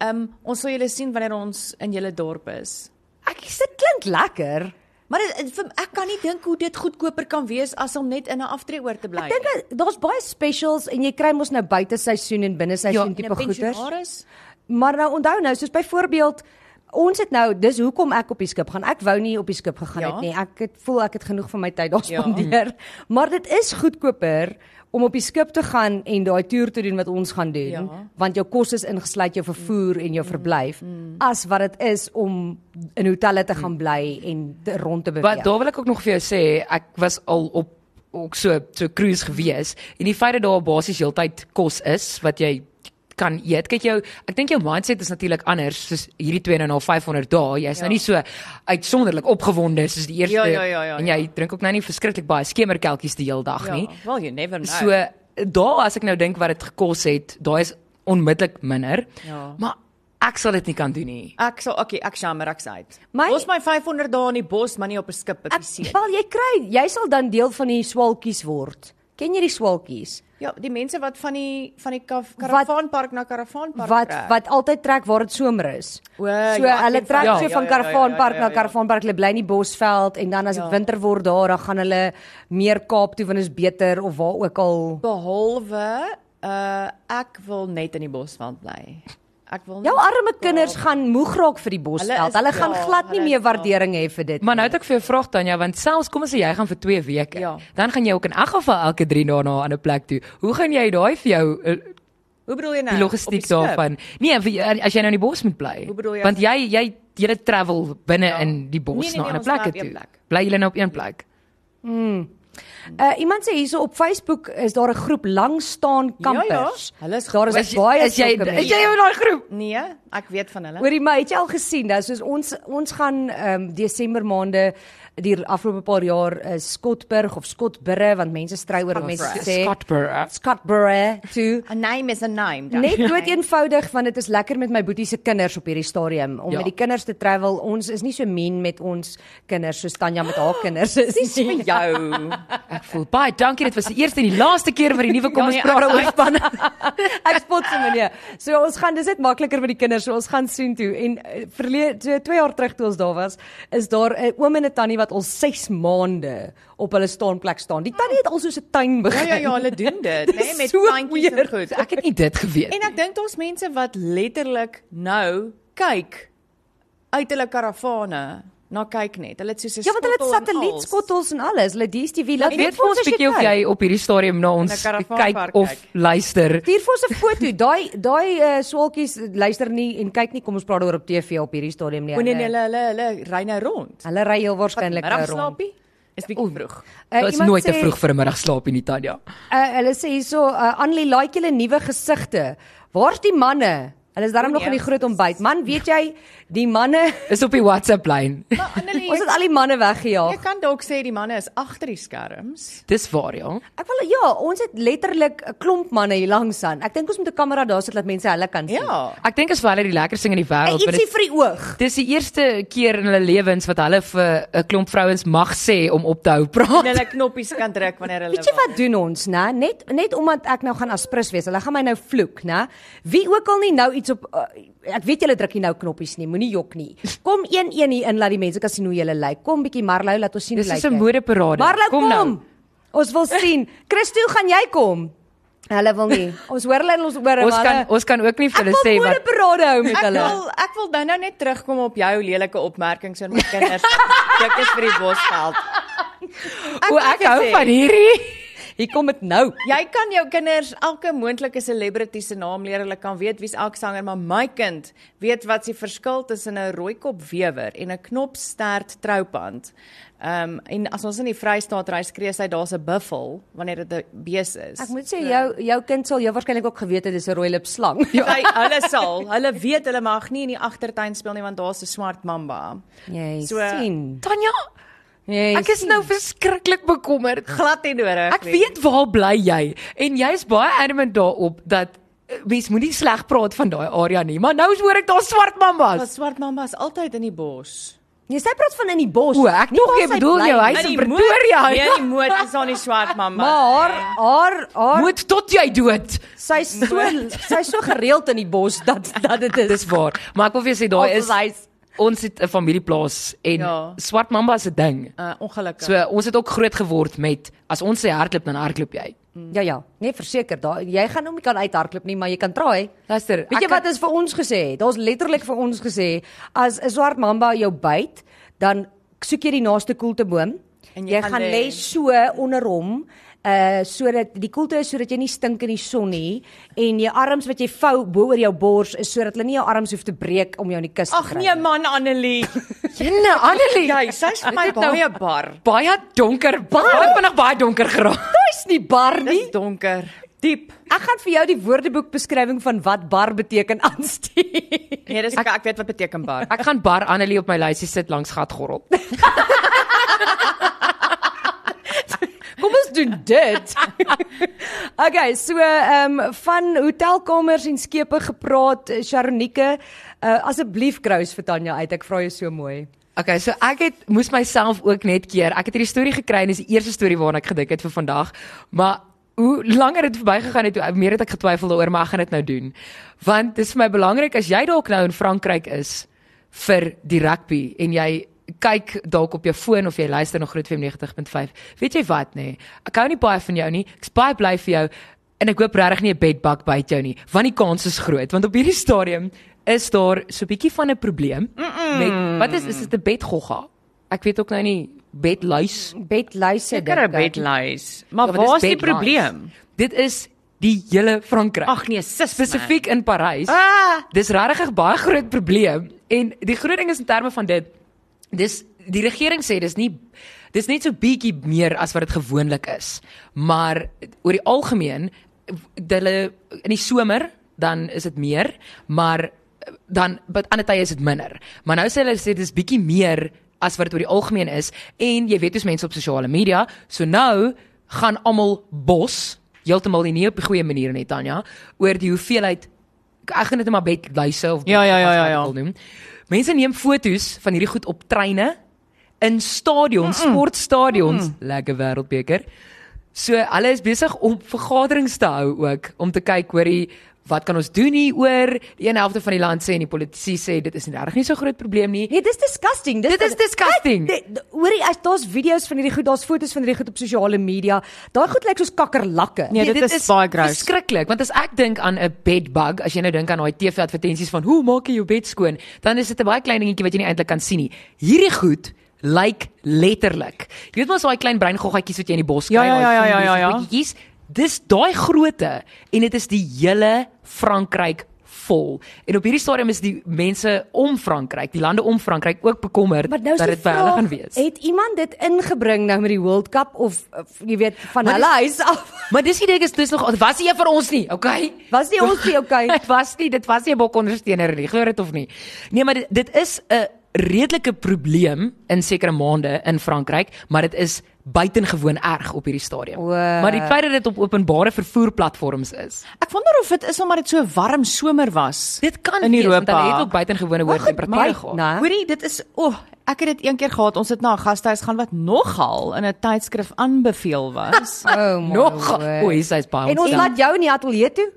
Speaker 3: ehm um, ons sal julle sien wanneer ons in julle dorp is.
Speaker 2: Ek dit klink lekker.
Speaker 3: Maar dit- dit, vir- ek kan nie dink hoe dit goedkoper kan wees as om net in 'n aftreeoor te bly.
Speaker 2: Ek dink
Speaker 4: Nee.
Speaker 2: dat- daar's baie specials en jy kry mos nou buite seisoen en binne
Speaker 4: Ja.
Speaker 2: seisoen tipe goeders.
Speaker 3: pensionaris
Speaker 2: Maar nou onthou nou, soos byvoorbeeld Ons het nou dis hoekom ek op die skip gaan. Ek wou nie op die skip gegaan
Speaker 3: Ja.
Speaker 2: het nie. Ek het voel ek het genoeg van my tyd daar
Speaker 3: Ja.
Speaker 2: spandeer. Ja. Maar dit is goedkoper om op die skip te gaan en daai toer te doen wat ons gaan doen, ja.
Speaker 3: Ja.
Speaker 2: want jou kos is ingesluit jou vervoer en jou verblyf, as wat dit is om in hotelle te gaan bly en te- rond te beweeg.
Speaker 3: Ja.
Speaker 4: Wat daar wil ek ook nog vir jou sê, ek was al op ook so so cruise gewees en die feit dat daar basies heeltyd kos is wat jy kan eet. Kyk jou, ek dink jou mindset is natuurlik anders soos hierdie 2 en 'n half 500 dae. Jy's
Speaker 3: Ja.
Speaker 4: nou nie so uitsonderlik opgewonde soos die eerste
Speaker 3: Ja, ja, ja, ja,
Speaker 4: en
Speaker 3: ja. nee.
Speaker 4: jy drink ook nou nie verskriklik baie skemerkelkies die heel dag
Speaker 2: nee.
Speaker 4: nie.
Speaker 3: Well, Ja, you never know.
Speaker 4: So daar as ek nou dink wat dit gekos het, daai is onmiddellik minder.
Speaker 3: Ja.
Speaker 4: Maar ek sal dit nie kan doen nie.
Speaker 3: Ek sal okay, ek jammer ek's uit.
Speaker 2: My-
Speaker 3: Ons my 500 dae in die bos, maar nie op 'n skip op die see.
Speaker 2: Ek, wel jy kry, jy sal dan deel van die swalkies word. Ken jy die swalkies?
Speaker 3: Ja, die mense wat van die van die kaf,
Speaker 2: Wat-
Speaker 3: karavaanpark na karavaanpark
Speaker 2: Wat
Speaker 3: trek.
Speaker 2: wat altyd trek waar dit somer is.
Speaker 3: O,
Speaker 2: so
Speaker 3: ja, ek
Speaker 2: hulle
Speaker 3: ken
Speaker 2: trek
Speaker 4: van-
Speaker 2: so van
Speaker 4: ja,
Speaker 3: ja, ja, ja,
Speaker 2: karavaanpark
Speaker 3: ja, ja,
Speaker 2: na
Speaker 3: ja.
Speaker 2: karavaanpark, hulle bly in die Bosveld en dan as dit
Speaker 3: Ja.
Speaker 2: winter word daar, dan gaan hulle meer Kaap toe want dit is beter of waar ook al.
Speaker 3: eh, behalwe uh ek wil net in die bosveld bly. Ek wil
Speaker 2: Jou
Speaker 3: nie-
Speaker 2: arme kinders gaan moeg raak vir die bosveld.
Speaker 3: Ja. Hulle
Speaker 2: Hulle
Speaker 3: is-
Speaker 2: gaan
Speaker 3: ja,
Speaker 2: glad nie
Speaker 3: hulle
Speaker 2: meer
Speaker 3: is- ja.
Speaker 2: waardering hê vir dit.
Speaker 4: Maar nou het ek vir jou 'n vraag Tanya, want selfs kom ons sê jy gaan vir 2 weke,
Speaker 3: Ja.
Speaker 4: dan gaan jy ook in elk geval elke 3 dae na 'n ander plek toe. Hoe gaan jy daai vir jou eh,
Speaker 3: Hoe bedoel jy nou?
Speaker 4: die
Speaker 3: Op
Speaker 4: logistiek
Speaker 3: skip?
Speaker 4: daarvan? Nee, vir, eh, as jy nou in die bos moet bly.
Speaker 3: Hoe bedoel jy?
Speaker 4: Want jy jy jy travel binne
Speaker 3: Ja.
Speaker 4: in die bos
Speaker 3: Nee, nee,
Speaker 4: na
Speaker 3: nee,
Speaker 4: ander
Speaker 3: ons bly op
Speaker 4: plekke
Speaker 3: een
Speaker 4: toe.
Speaker 3: plek.
Speaker 4: Bly julle nou op een plek?
Speaker 2: Uh, iemand sê hierso op Facebook is daar 'n groep lang staan kampers.
Speaker 3: Ja, ja. Hulle is
Speaker 2: daar is
Speaker 3: groot.
Speaker 2: is baie
Speaker 4: is jy
Speaker 2: sulke
Speaker 4: is
Speaker 2: mense.
Speaker 4: jy nou in daai groep?
Speaker 3: Nee, ek weet van hulle.
Speaker 2: Hoorie maar, het jy al gesien dat soos ons ons gaan ehm um, Desember maande die afgelope paar jaar is Skotburg of Skotburre want mense stry oor mense sê
Speaker 4: Scottsburg.
Speaker 2: Skotburre toe
Speaker 3: 'n Name is 'n name. dan.
Speaker 2: Net dood eenvoudig want dit is lekker met my boetie se kinders op hierdie stadium om
Speaker 4: Ja.
Speaker 2: ja. met die kinders te travel. Ons is nie so mean met ons kinders soos Tanya met haar kinders is
Speaker 3: Dis
Speaker 2: nie.
Speaker 3: vir jou.
Speaker 4: Ek voel baie dankie. Dit was die eerste en die laaste keer wat die nuwe kom
Speaker 3: Ja,
Speaker 4: ons
Speaker 3: nee,
Speaker 4: praat
Speaker 3: ek-
Speaker 4: oor spanne.
Speaker 2: Ek spot se meneer. So ons gaan dis net makliker vir die kinders. So ons gaan soen toe en uh, verlede so 2 jaar terug toe ons daar was, is daar 'n oom en 'n tannie wat al 6 maande op hulle staanplek staan. Die tannie het al soos 'n tuin
Speaker 3: Ja
Speaker 2: begin.
Speaker 3: ja ja, hulle doen dit, né,
Speaker 2: Dis
Speaker 3: met
Speaker 2: so
Speaker 3: plantjies en
Speaker 2: weird.
Speaker 3: goed. Ek,
Speaker 4: Ek het nie dit geweet.
Speaker 3: en ek dink daar's mense wat letterlik nou kyk uit hulle karavane na kyk net. Hulle het soos 'n
Speaker 2: Ja, want hulle het
Speaker 3: skottel en als.
Speaker 2: satellietskottels en alles. Hulle DStv laat
Speaker 4: Laat weet vir ons bietjie of jy op hierdie stadium na ons
Speaker 3: In 'n
Speaker 4: kyk
Speaker 3: karavaanpark
Speaker 4: of
Speaker 3: kyk.
Speaker 4: luister.
Speaker 2: Stuur vir ons 'n foto. Daai daai uh, swaaltjies luister nie en kyk nie. Kom ons praat daaroor op TV op hierdie stadium nie.
Speaker 3: O nee, nee, hulle hulle hulle ry nou rond.
Speaker 2: Hulle ry heel waarskynlik nou rond.
Speaker 3: Middagslaapie is bietjie vroeg.
Speaker 2: Eh,
Speaker 4: Dit is
Speaker 2: iemand
Speaker 4: nooit te
Speaker 2: sê-
Speaker 4: vroeg vir 'n middagslaap nie, Tanya.
Speaker 2: Uh, hulle sê hierso, uh, Annelie, like julle nuwe gesigte. Waar's die manne? Hulle is daarom
Speaker 3: O,
Speaker 2: nog in die
Speaker 3: nee.
Speaker 2: groot ontbyt. Man, weet jy, die manne,
Speaker 4: Is op die WhatsApp lyn.
Speaker 3: Maar Annelie,
Speaker 2: ons het al die manne
Speaker 3: jy
Speaker 2: weggejaag.
Speaker 3: kan dalk sê die manne is agter die skerms.
Speaker 4: Dis waar ja.
Speaker 2: Ek wil ja, ons het letterlik 'n klomp manne hier langs aan. Ek dink ons moet 'n kamera daar sit dat mense hulle kan sien.
Speaker 3: Ja.
Speaker 4: Ek dink as vir hulle die lekkerste ding in die
Speaker 2: En
Speaker 4: wêreld want
Speaker 2: ietsie
Speaker 4: dit-
Speaker 2: vir die oog.
Speaker 4: Dis die eerste keer in hulle lewens wat hulle vir 'n klomp vrouens mag sê om op te hou
Speaker 3: En
Speaker 4: praat.
Speaker 3: hulle knoppies kan druk wanneer hulle
Speaker 2: Weet jy
Speaker 3: wil.
Speaker 2: wat doen ons, né? Net net omdat ek nou gaan aspris wees. Hulle gaan my nou vloek, né? Wie ook al nie nou iets op uh, ek weet julle druk nie nou knoppies nie, moenie jok nie. Kom 1-1 hier in laat die mense kan sien hoe julle lyk. Kom bietjie Marlou, laat ons sien hoe
Speaker 4: Dis
Speaker 2: lyk
Speaker 4: soos 'n
Speaker 2: jy.
Speaker 4: modeparade.
Speaker 2: Marlou,
Speaker 4: Kom
Speaker 2: kom,
Speaker 4: nou.
Speaker 2: kom. Ons wil sien. Christo, gaan jy kom? Hulle wil nie. Ons hoor hulle en ons hoor
Speaker 4: Ons kan ons kan ook nie vir hulle sê wat
Speaker 2: Ek wil 'n parade hou met
Speaker 3: Ek
Speaker 2: hulle.
Speaker 3: wil ek wil nou nou net terugkom op jou lelike opmerkings oor my kinders. Dit is vir die bosveld.
Speaker 4: o ek
Speaker 3: wil
Speaker 4: hou
Speaker 3: gesê,
Speaker 4: van hierdie.
Speaker 2: Hier kom dit nou.
Speaker 3: Jy kan jou kinders elke moontlike celebrity se naam leer. Hulle kan weet wie's elke sanger, maar my kind weet wat se verskil tussen 'n rooikop wewer en 'n knopstert troupand. Ehm um, en as ons in die Vrystaat ry, skree sy daar's 'n buffel wanneer dit 'n bees is.
Speaker 2: Ek moet sê jou jou kind sal jou waarskynlik ook geweet het dis 'n rooi lip slang.
Speaker 3: Ja, hy, hulle sal. Hulle weet hulle mag nie in die agtertuin speel nie want daar's 'n swart mamba.
Speaker 2: Jy
Speaker 3: So,
Speaker 2: sien.
Speaker 4: Tanya,
Speaker 2: Jy
Speaker 4: ek is
Speaker 2: sien.
Speaker 4: nou verskriklik bekommerd.
Speaker 3: Glad nie nodig.
Speaker 4: Ek weet waar bly jy en jy's baie adamant daarop dat eh, mens moenie sleg praat van daai area nie, maar nou hoor ek daar swart
Speaker 3: Maar
Speaker 4: mamas.
Speaker 3: swart mamba is altyd in die bos.
Speaker 2: Jy sê praat van in die bos.
Speaker 4: O, ek
Speaker 2: nie
Speaker 4: dink
Speaker 2: waar
Speaker 4: jy
Speaker 2: sy
Speaker 4: bedoel
Speaker 2: bly
Speaker 4: jou
Speaker 2: nie.
Speaker 4: huis Dis in Pretoria. ja.
Speaker 3: Nee, die moed is aan die swart mamba.
Speaker 2: Maar haar haar haar
Speaker 4: Moet tot jy dood.
Speaker 2: sy's so sy's so gereeld in die bos dat dat dit is.
Speaker 4: Dis waar. Maar ek wil vir jou sê daai is
Speaker 2: Always.
Speaker 4: ons het 'n familieplaas en ja.
Speaker 3: Ja.
Speaker 4: swart mamba is 'n ding.
Speaker 3: uh, ongelukkig.
Speaker 4: So ons het ook groot geword met as ons sê hardloop dan hardloop jy.
Speaker 2: Ja ja, nee verseker, daar jy gaan hom nie kan uithardloop nie, maar jy kan try.
Speaker 4: Luister,
Speaker 2: Weet jy
Speaker 4: ek-
Speaker 2: wat is vir ons gesê? Daar's letterlik vir ons gesê as 'n swart mamba jou byt, dan soek jy die naaste koelte boom.
Speaker 3: En
Speaker 2: jy, jy gaan lê so onder hom uh sodat die koelte is sodat jy nie stink in die son nie en jou arms wat jy vou bo oor jou bors is sodat hulle nie jou arms hoef te breek om jou in die kus te
Speaker 3: Ag
Speaker 2: kry. Ja,
Speaker 3: nee man Annelie.
Speaker 4: Jenne, Annelie,
Speaker 3: Jy, sy's vir my
Speaker 4: Dit nou-
Speaker 3: baie bar.
Speaker 4: baie donker, baie vinnig baie donker geraak.
Speaker 2: Dis nie bar nie.
Speaker 3: Dis donker, diep.
Speaker 2: Ek gaan vir jou die woordeboek beskrywing van wat bar beteken aanstuur.
Speaker 3: Nee, dis ek, ek weet wat beteken bar.
Speaker 4: Ek gaan bar Annelie op my lysie sit langs gatgorrel.
Speaker 2: Kom ons doen dit. okay, so ehm um, van hotelkamers en skepe gepraat, eh, Sharonike, uh, asseblief krous vir Tanya uit. Ek vra jou so mooi.
Speaker 4: Okay, so ek het moes myself ook net keer. Ek het hierdie storie gekry en dis die eerste storie waarna ek gedink het vir vandag. Maar hoe langer dit verbygegaan het, hoe meer het ek getwyfel daaroor, maar ek gaan dit nou doen. Want dis vir my belangrik as jy dalk nou in Frankryk is vir die rugby en jy kyk dalk op jou foon of jy luister na Groot FM 90.5. Weet jy wat nê? Nee? Ek hou nie baie van jou nie. Ek's baie bly vir jou. en ek hoop regtig nie 'n bedbug byt jou nie, want die kans is groot want op hierdie stadium is daar so 'n bietjie van 'n probleem mm -mm. met wat is is dit 'n bedgogga? Ek weet ook nou nie bedluis. Ja,
Speaker 2: Bedluise
Speaker 3: Seker 'n bedluis. Ja, Maar waar is die probleem?
Speaker 4: Dit is die hele Frankryk.
Speaker 3: Ag nee, sis. man.
Speaker 4: spesifiek in Parys.
Speaker 3: Ah,
Speaker 4: Dis regtig 'n baie groot probleem en die groot ding is in terme van dit dis die regering sê dis nie dis net so bietjie meer as wat dit gewoonlik is. Maar oor die algemeen d- hulle in die somer dan is dit meer, maar dan by ander tye is dit minder. Maar nou sê hulle sê dis bietjie meer as wat dit oor die algemeen is en jy weet hoe's mense op sosiale media, so nou gaan almal bos heeltemal nie op 'n goeie manier net Tanya oor die hoeveelheid ek gaan dit net maar bedluise of
Speaker 3: Ja, ja, ja,
Speaker 4: as
Speaker 3: ja,
Speaker 4: wat
Speaker 3: ja.
Speaker 4: wil noem. Mense neem fotos van hierdie goed op treine, in stadions, mm -mm. sportstadions, mm -mm. lekker wêreldbeker. So hulle is besig om vergaderings te hou ook om te kyk hoorie wat kan ons doen hier oor die een helfte van die land sê en die politici sê dit is regtig nie so groot probleem nie.
Speaker 2: Nee, dis disgusting. Dis
Speaker 4: Dit is disgusting.
Speaker 2: Kyk, dit- Hoorie, as daar's video's van hierdie goed, daar's foto's van hierdie goed op sosiale media. Daai goed lyk soos kakkerlakke.
Speaker 3: Nee, dit is baie gross.
Speaker 4: Verskriklik, want as ek dink aan 'n bedbug, as jy nou dink aan daai TV-advertensies van hoe maak jy jou bed skoon, dan is dit 'n baie klein dingetjie wat jy nie eintlik kan sien nie. Hierdie goed lyk like letterlik. Jy weet mos daai klein breingoggatjies wat jy in die bos kry,
Speaker 3: Ja, ja, ja, ja,
Speaker 4: daai
Speaker 3: ja,
Speaker 4: filmpjes,
Speaker 3: ja.
Speaker 4: goedjies. Kies, dis daai grootte en dit is die hele Frankryk vol. En op hierdie stadium is die mense om Frankryk, die lande om Frankryk ook bekommerd
Speaker 2: Maar nou is
Speaker 4: dat
Speaker 2: die
Speaker 4: dit vir hulle
Speaker 2: vraag,
Speaker 4: gaan wees.
Speaker 2: Het iemand dit ingebring nou met die World Cup of, of jy weet van
Speaker 4: Maar
Speaker 2: hulle huis af?
Speaker 4: Maar dis die ding is dis nog dit was nie een vir ons nie, okay?
Speaker 2: Was nie ons nie, okay?
Speaker 4: dit was nie, dit was nie 'n bok ondersteuner nie, glo dit of nie. Nee, maar dit, dit is 'n redelike probleem in sekere maande in Frankryk, maar dit is buitengewoon erg op hierdie stadium.
Speaker 2: O.
Speaker 4: Maar die feit dat dit op openbare vervoerplatforms is.
Speaker 3: ek wonder of dit is omdat dit so warm somer was.
Speaker 4: Dit kan
Speaker 3: In
Speaker 4: wees, want
Speaker 3: Europa.
Speaker 4: Hulle het ook buitengewone hoë
Speaker 2: Maar goed,
Speaker 4: temperature
Speaker 2: maar-
Speaker 4: gehad.
Speaker 2: nou, Hæ?
Speaker 3: Hoorie, dit is o, oh, ek het dit een keer gehad. Ons het na 'n gastehuis gaan wat nogal in 'n tydskrif aanbeveel was.
Speaker 2: Oh my
Speaker 4: Nog.
Speaker 2: word.
Speaker 4: O, hy sê's baie.
Speaker 2: En ons
Speaker 4: ontstel.
Speaker 2: laat jou in die ateljee toe.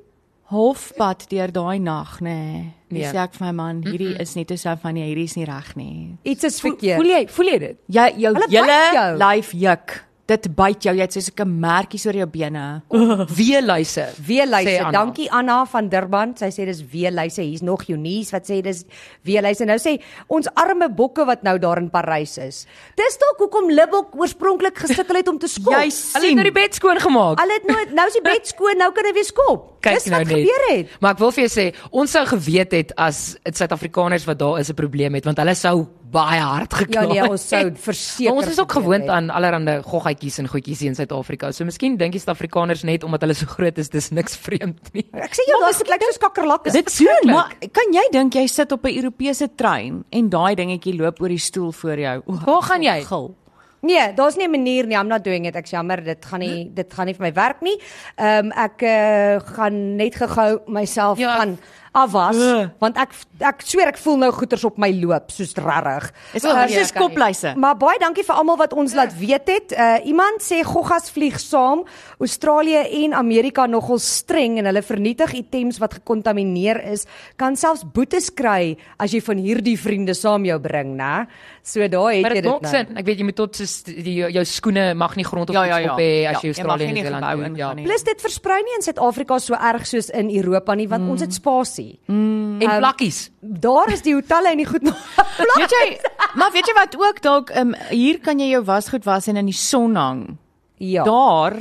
Speaker 3: Halfpad deur daai nag, nê. Nee.
Speaker 4: Nee.
Speaker 3: Dis nee. ek vir my man, hierdie is nie te sou van nie, hierdie is nie reg nie.
Speaker 2: Iets is
Speaker 4: Voel-
Speaker 2: verkeerd.
Speaker 4: Voel jy, voel jy dit?
Speaker 3: Jy jou
Speaker 2: Hulle byt jou.
Speaker 3: hele lyf juk. Dit byt jou. Jy het so 'n merkies oor jou bene.
Speaker 4: Wie luister? Sê
Speaker 2: Weerluise.
Speaker 4: Anna.
Speaker 2: Dankie Anna van Durban. Sy sê dis weerluise. Hier's nog Jonies wat sê dis weerluise. Nou sê ons arme bokke wat nou daar in Parys is. Dis dalk hoekom Libok oorspronklik gesukkel het om te skop.
Speaker 3: Jy
Speaker 4: Hulle het
Speaker 3: sien.
Speaker 4: nou die bed skoon gemaak.
Speaker 2: Hulle het nooit nou is die bed skoon, nou kan hy weer skop.
Speaker 4: Kyk
Speaker 2: dis
Speaker 4: nou
Speaker 2: wat
Speaker 4: net.
Speaker 2: gebeur het.
Speaker 4: Maar ek wil vir jou sê, ons sou geweet het as dit Suid-Afrikaners wat daar is 'n probleem het, want hulle sou baie hard gekla.
Speaker 2: Ja nee,
Speaker 4: het.
Speaker 2: ons sou verseker.
Speaker 4: Maar ons is ook
Speaker 2: geweet
Speaker 4: gewoond
Speaker 2: het.
Speaker 4: aan allerlei goggetjies en goedjies hier in Suid-Afrika. So miskien dink die Suid-Afrikaners net omdat hulle so groot is, dis niks vreemd nie.
Speaker 2: Ek sê jou daai goed lyk soos kakkerlakke.
Speaker 3: Dit
Speaker 4: verskriklik.
Speaker 3: doen, maar kan jy dink jy sit op 'n Europese trein en daai dingetjie loop oor die stoel voor jou? O,
Speaker 4: Waar gaan jy?
Speaker 3: Gil.
Speaker 2: Nee, daar's nie 'n manier nie. I'm not doing it. Ek is jammer, dit gaan
Speaker 4: Hm.
Speaker 2: nie dit gaan nie vir my werk nie. Ehm um, ek uh, gaan net gou myself
Speaker 4: Ja, ek-
Speaker 2: ja, gaan afwas
Speaker 4: Ugh.
Speaker 2: want ek ek sweer ek voel nou goeters op my loop soos Ehm, regtig.
Speaker 3: Is
Speaker 4: Oh,
Speaker 3: dit
Speaker 4: nee,
Speaker 3: soos
Speaker 4: kan nie.
Speaker 3: kopluise?
Speaker 2: Maar baie dankie vir almal wat
Speaker 4: Ja.
Speaker 2: ons laat weet het. Uh iemand sê goggas vlieg saam. Australië en Amerika nogal streng en hulle vernietig items wat gekontamineer is. Kan selfs boetes kry as jy van hierdie vriende saam jou bring, né? So daar het
Speaker 4: Maar
Speaker 2: jy
Speaker 4: dit
Speaker 2: dit
Speaker 4: maak
Speaker 2: nou.
Speaker 4: sin. Ek weet jy moet tot soos die jou skoene mag nie grond of
Speaker 3: Ja,
Speaker 4: iets
Speaker 3: ja, ja.
Speaker 4: op hê
Speaker 3: Ja,
Speaker 4: as jy
Speaker 3: jy
Speaker 4: Australië
Speaker 3: mag
Speaker 4: en
Speaker 3: nie in die
Speaker 4: Nieu-Seeland
Speaker 3: gebou
Speaker 4: doen. Ja.
Speaker 3: ingaan nie.
Speaker 2: Plus dit versprei nie in Suid-Afrika so erg soos in Europa nie want ons het spasie.
Speaker 4: En plakkies.
Speaker 2: Daar is die hotelle en die goed nog.
Speaker 3: Weet jy, maar weet jy wat ook dalk um, hier kan jy jou wasgoed was en in die son hang.
Speaker 2: ja.
Speaker 3: Daar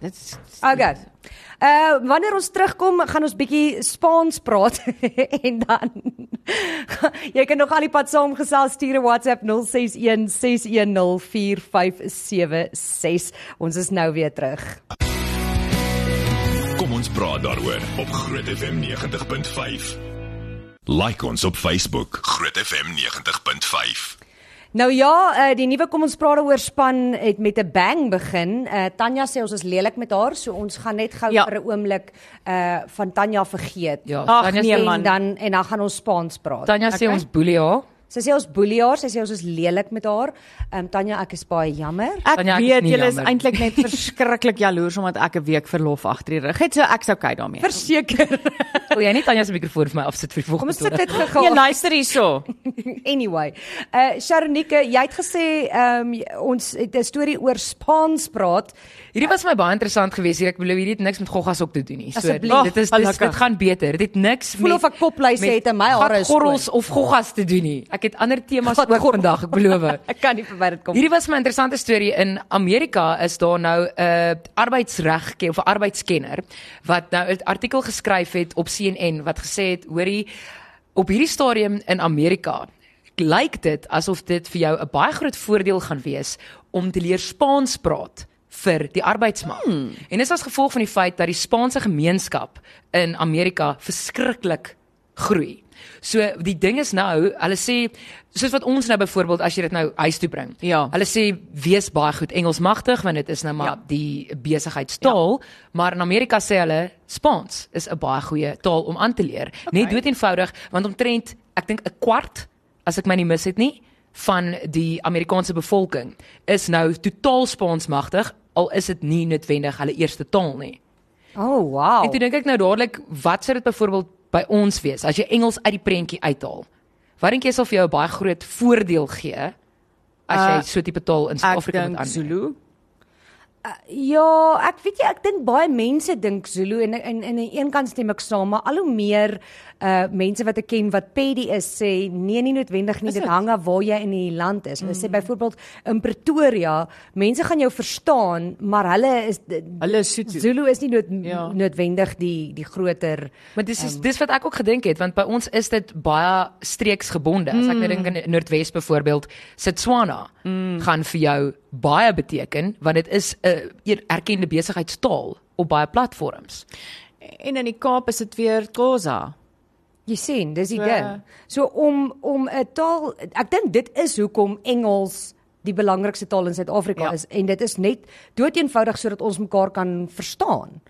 Speaker 3: dit is-
Speaker 2: Okay. Uh wanneer ons terugkom, gaan ons bietjie Spaans praat en dan jy kan nog al die pad saamgesels stuur 'n WhatsApp 0616104576. Ons is nou weer terug.
Speaker 1: Kom ons praat daaroor op Groot FM 90.5. Like ons op Facebook Groot FM 90.5.
Speaker 2: Nou ja, uh, die nuwe kom ons praat oor span het met 'n bang begin. Uh, Tanya sê ons is lelik met haar, so ons gaan net gou
Speaker 3: Ja.
Speaker 2: vir 'n oomblik uh van Tanya vergeet.
Speaker 4: Ja,
Speaker 3: Ag,
Speaker 4: Tanya
Speaker 3: nee,
Speaker 4: sê
Speaker 3: man.
Speaker 2: en dan en dan gaan ons Spaans praat.
Speaker 4: Tanya sê
Speaker 3: Okay.
Speaker 4: ons boelie haar.
Speaker 2: Sy sê ons boelie haar, sy sê ons is lelik met haar. Ehm um, Tanya, ek is baie jammer.
Speaker 3: Ek
Speaker 4: Tanya, ek is
Speaker 3: weet
Speaker 4: nie
Speaker 3: julle is
Speaker 4: jammer.
Speaker 3: eintlik net verskriklik jaloers omdat ek 'n week verlof agter die rug het, so ek's okay daarmee.
Speaker 2: Verseker.
Speaker 4: Wil jy nie Tanya se mikrofoon vir my afsit vir die
Speaker 2: Kom
Speaker 4: volgende
Speaker 2: ons sit
Speaker 4: toerag?
Speaker 2: dit gegaan.
Speaker 3: Nee, luister hierso.
Speaker 2: Anyway, uh Sharonike, jy het gesê ehm um, ons het 'n storie oor Spaans praat.
Speaker 4: Hierdie was vir my baie interessant geweest hier. Ek belowe hierdie het niks met Goggas ook te doen nie. So
Speaker 2: Asseblief.
Speaker 4: dit is dit,
Speaker 3: Gelukkig.
Speaker 4: dit gaan beter. Dit het niks
Speaker 2: Voel of ek popluise het en my hare is
Speaker 4: korrels of Goggas te doen nie. Ek het ander temas
Speaker 2: God,
Speaker 4: ook
Speaker 2: gorrel.
Speaker 4: vandag, ek belowe.
Speaker 2: Ek kan nie verby dit kom.
Speaker 4: Hierdie was 'n interessante storie in Amerika is daar nou 'n uh, arbeidsregke of 'n arbeidskenner wat nou 'n artikel geskryf het op CNN wat gesê het hoorie op hierdie stadium in Amerika lyk dit asof dit vir jou 'n baie groot voordeel gaan wees om te leer Spaans praat vir die arbeidsmark. Hmm. En dit is as gevolg van die feit dat die Spaanse gemeenskap in Amerika verskriklik groei. So die ding is nou, hulle sê soos wat ons nou byvoorbeeld as jy dit nou huis toe bring.
Speaker 3: Ja.
Speaker 4: Hulle sê wees baie goed Engels magtig want dit is nou maar
Speaker 3: Ja.
Speaker 4: die besigheidstaal, maar in Amerika sê hulle Spaans is 'n baie goeie taal om aan te leer. Okay. Net dood eenvoudig want omtrent ek dink 'n kwart as ek my nie mis het nie van die Amerikaanse bevolking is nou totaal Spaans magtig al is dit nie noodwendig hulle eerste taal nie.
Speaker 2: Oh wow.
Speaker 4: En toe dink ek nou dadelik, wat sou dit byvoorbeeld by ons wees as jy Engels uit die prentjie uithaal? Wat dink jy sal vir jou 'n baie groot voordeel gee as jy
Speaker 3: Uh,
Speaker 4: so tipe taal in
Speaker 3: Ek
Speaker 4: Suid-Afrika moet
Speaker 3: dink
Speaker 4: aan?
Speaker 3: Zulu.
Speaker 2: Ja, ek weet jy, ek dink baie mense dink Zulu en en en aan die een kant stem ek saam, maar al hoe meer uh mense wat ek ken wat Pedi is sê nee nie noodwendig nie,
Speaker 3: Is
Speaker 2: dit
Speaker 3: dit?
Speaker 2: hang af waar jy in die land is. Hulle mm. sê byvoorbeeld in Pretoria, mense gaan jou verstaan, maar hulle is
Speaker 3: Hulle is Sotho.
Speaker 2: Zulu is nie nood, ja.
Speaker 3: Ja.
Speaker 2: noodwendig die die groter
Speaker 4: Maar dis is, dis wat ek ook gedink het want by ons is dit baie streeksgebonde. As ek nou dink in die Noordwes byvoorbeeld, Setswana mm. gaan vir jou baie beteken want dit is 'n eer- erkende besigheidstaal op baie platforms.
Speaker 3: En in die Kaap is dit weer Xhosa.
Speaker 2: Jy sien, dis die
Speaker 3: So-
Speaker 2: ding. So om om 'n taal, ek dink dit is hoekom Engels die belangrikste taal in Suid-Afrika ja.
Speaker 3: Ja.
Speaker 2: is en dit is net doeteenvoudig sodat ons mekaar kan verstaan.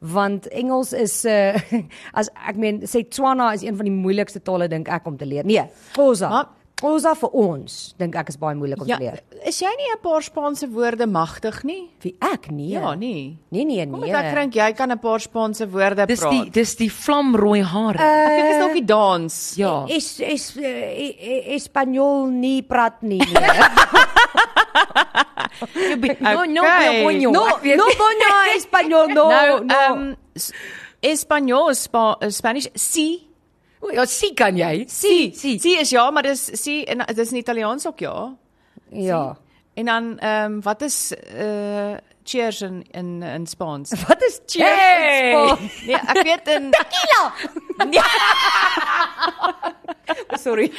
Speaker 2: Want Engels is uh, as ek meen Setswana is een van die moeilikste tale dink ek om te leer. Nee, Xhosa.
Speaker 3: Maar-
Speaker 2: Xhosa vir ons dink ek is baie moeilik om
Speaker 3: Ja,
Speaker 2: te leer.
Speaker 3: is jy nie 'n paar Spaanse woorde magtig nie?
Speaker 2: Wie ek nee.
Speaker 3: Ja, nee.
Speaker 2: Nee nee nee.
Speaker 3: Kom ek ek dink jy kan 'n paar Spaanse woorde
Speaker 4: Dis
Speaker 3: praat.
Speaker 4: die dis die vlamrooi hare.
Speaker 3: ek dink is dalk die dans.
Speaker 4: ja.
Speaker 2: Is is
Speaker 3: eh, e-
Speaker 2: Espanjol nie praat nie. nee.
Speaker 4: No, no,
Speaker 3: Okay.
Speaker 4: Boño.
Speaker 2: No,
Speaker 4: Ek weet
Speaker 2: no
Speaker 4: nie.
Speaker 2: bono español, no,
Speaker 3: nou,
Speaker 2: no.
Speaker 3: ehm um, Espanol is Spa is Spanish. Si.
Speaker 4: O, eh, ja, sien kan jy.
Speaker 3: Si.
Speaker 4: Si.
Speaker 3: Si is ja, maar dis si en dis in Italiaans ook ja.
Speaker 2: ja.
Speaker 3: En dan ehm um, wat is eh uh, cheers in in in Spaans?
Speaker 2: Wat is cheers
Speaker 4: Hey!
Speaker 2: in Spaans?
Speaker 3: Nee, ek weet in
Speaker 2: Sorry.
Speaker 3: in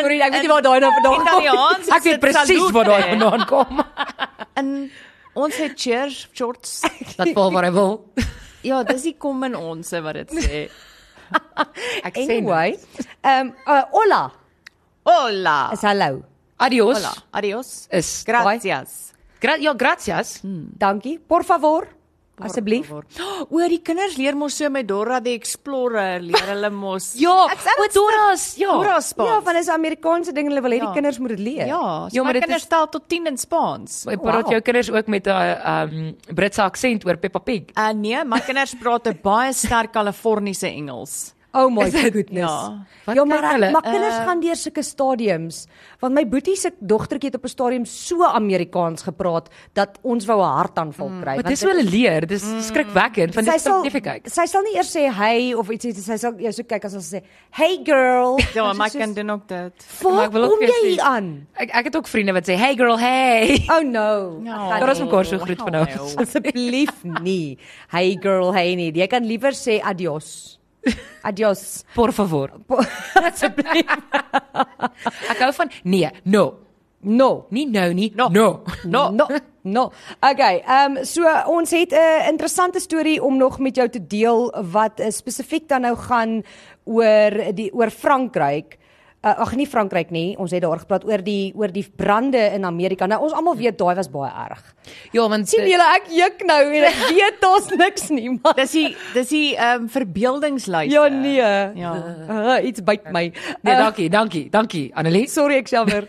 Speaker 2: Sorry, ek weet nie waar daai nou vandaan kom nie.
Speaker 3: Italiaans.
Speaker 4: Ek weet presies waar daai vandaan kom.
Speaker 3: In ons het cheers shorts.
Speaker 4: Dat val waar hy wil.
Speaker 3: Ja, dis die kom in ons wat dit sê.
Speaker 4: Ek sê nou.
Speaker 2: Anyway, ehm um, uh, hola
Speaker 3: Hola.
Speaker 2: is hallo.
Speaker 4: Adios.
Speaker 3: Hola. Adios.
Speaker 4: Is
Speaker 3: Gracias.
Speaker 4: gra ja, gracias.
Speaker 2: Dankie. Por favor. Asseblief.
Speaker 3: O, die kinders leer mos so met Dora die Explorer, leer hulle mos.
Speaker 4: Ja,
Speaker 3: Ek- ek-
Speaker 4: wat Doras, ja.
Speaker 3: Dora
Speaker 2: Ja,
Speaker 3: Spaans.
Speaker 2: want dis 'n Amerikaanse ding en hulle wil hê die
Speaker 3: Ja.
Speaker 2: kinders moet dit leer.
Speaker 3: Ja,
Speaker 4: Ja,
Speaker 3: ja,
Speaker 4: maar
Speaker 3: maar
Speaker 4: dit
Speaker 3: kinders
Speaker 4: is-
Speaker 3: stel tot 10 in Spaans.
Speaker 4: Jy praat
Speaker 2: Wow.
Speaker 4: jou kinders ook met 'n um Britse aksent oor Peppa Pig.
Speaker 3: Uh nee, my kinders praat 'n baie sterk Kaliforniese Engels.
Speaker 2: Oh my goodness. Ja,
Speaker 3: Ja.
Speaker 4: Wat
Speaker 2: ja
Speaker 4: kyk
Speaker 2: maar hulle,
Speaker 4: hulle?
Speaker 2: maar kinders gaan deur sulke stadiums want my boetie se dogtertjie het op 'n stadium so Amerikaans gepraat dat ons wou 'n hartaanval kry.
Speaker 4: Maar
Speaker 2: want
Speaker 4: dis hoe hulle leer, dis skrikwekkend want
Speaker 2: sy
Speaker 4: dit
Speaker 2: sal
Speaker 4: sal nie kyk.
Speaker 2: sy sal nie eers sê hey of iets iets sy sal eers so kyk as ons sê hey girl
Speaker 3: Ja, my kind doen ook dit.
Speaker 4: Maar ek wil
Speaker 2: waar
Speaker 4: ook
Speaker 2: kom
Speaker 4: vir jou
Speaker 2: jy
Speaker 4: sê-
Speaker 2: hier aan
Speaker 4: Ek ek het ook vriende wat sê, "Hey girl, hey."
Speaker 2: oh no
Speaker 3: Ja.
Speaker 4: Daar is
Speaker 2: nie.
Speaker 4: mekaar so groet vanaand.
Speaker 2: asseblief nie hey girl hey nie jy kan liewer sê adios adios
Speaker 4: Por favor.
Speaker 2: asseblief
Speaker 4: Ek hou van nee, no.
Speaker 2: no
Speaker 4: Nie nou nie. No. no.
Speaker 2: No. no. No. Okay, ehm um, so ons het 'n uh, interessante storie om nog met jou eh, te deel wat uh, spesifiek dan nou gaan oor die oor Frankryk. uh, ag nie Frankryk nie. Ons het daar gepraat oor die oor die brande in Amerika. Nou ons almal weet daai was baie erg.
Speaker 4: Ja, want
Speaker 2: sien julle ek juk nou en ek weet daar's niks nie, maar
Speaker 3: Dis die dis die ehm um, verbeeldingslyse.
Speaker 2: ja nee. Ja.
Speaker 3: Ja.
Speaker 2: Uh, iets byt my.
Speaker 4: Nee,
Speaker 2: Uh,
Speaker 4: dankie, dankie, dankie Annelies.
Speaker 2: Sorry ek jammer.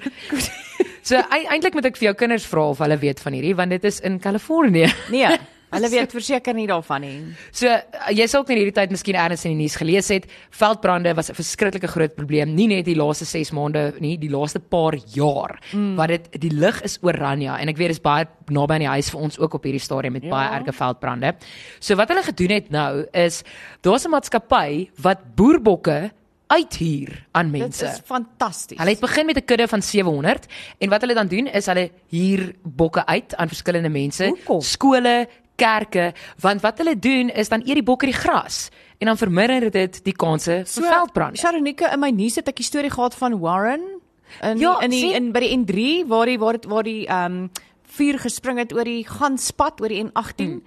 Speaker 4: So ei- eintlik moet ek vir jou kinders vra of hulle weet van hierdie want dit is in Kalifornië.
Speaker 3: Nee. Hulle weet verseker nie daarvan nie.
Speaker 4: So uh, jy sal ook in hierdie tyd miskien ergens in die nuus gelees het, veldbrande was 'n verskriklike groot probleem, nie net die laaste 6 maande nie, die laaste paar jaar. Mm. Want dit die lig is oranje en ek weet dis baie naby aan die huis vir ons ook op hierdie stadium met ja. baie erge veldbrande. So wat hulle gedoen het nou is daar's 'n maatskappy wat boerbokke uithuur aan
Speaker 3: Dit
Speaker 4: mense.
Speaker 3: is fantasties.
Speaker 4: Hulle het begin met 'n kudde van 700 en wat hulle dan doen is hulle huur bokke uit aan verskillende mense,
Speaker 2: Hoekom?
Speaker 4: skole, kerke, want wat hulle doen is dan eet die bokke die gras en dan verminder dit die kanse vir veldbrand.
Speaker 3: Sharonika in my nuus het ek 'n storie gehad van Warren in
Speaker 4: Ja,
Speaker 3: ja, in die,
Speaker 4: sien-
Speaker 3: in by die N3 waar die waar dit- waar die ehm um, vuur gespring het oor die ganspad oor die N18. Mm.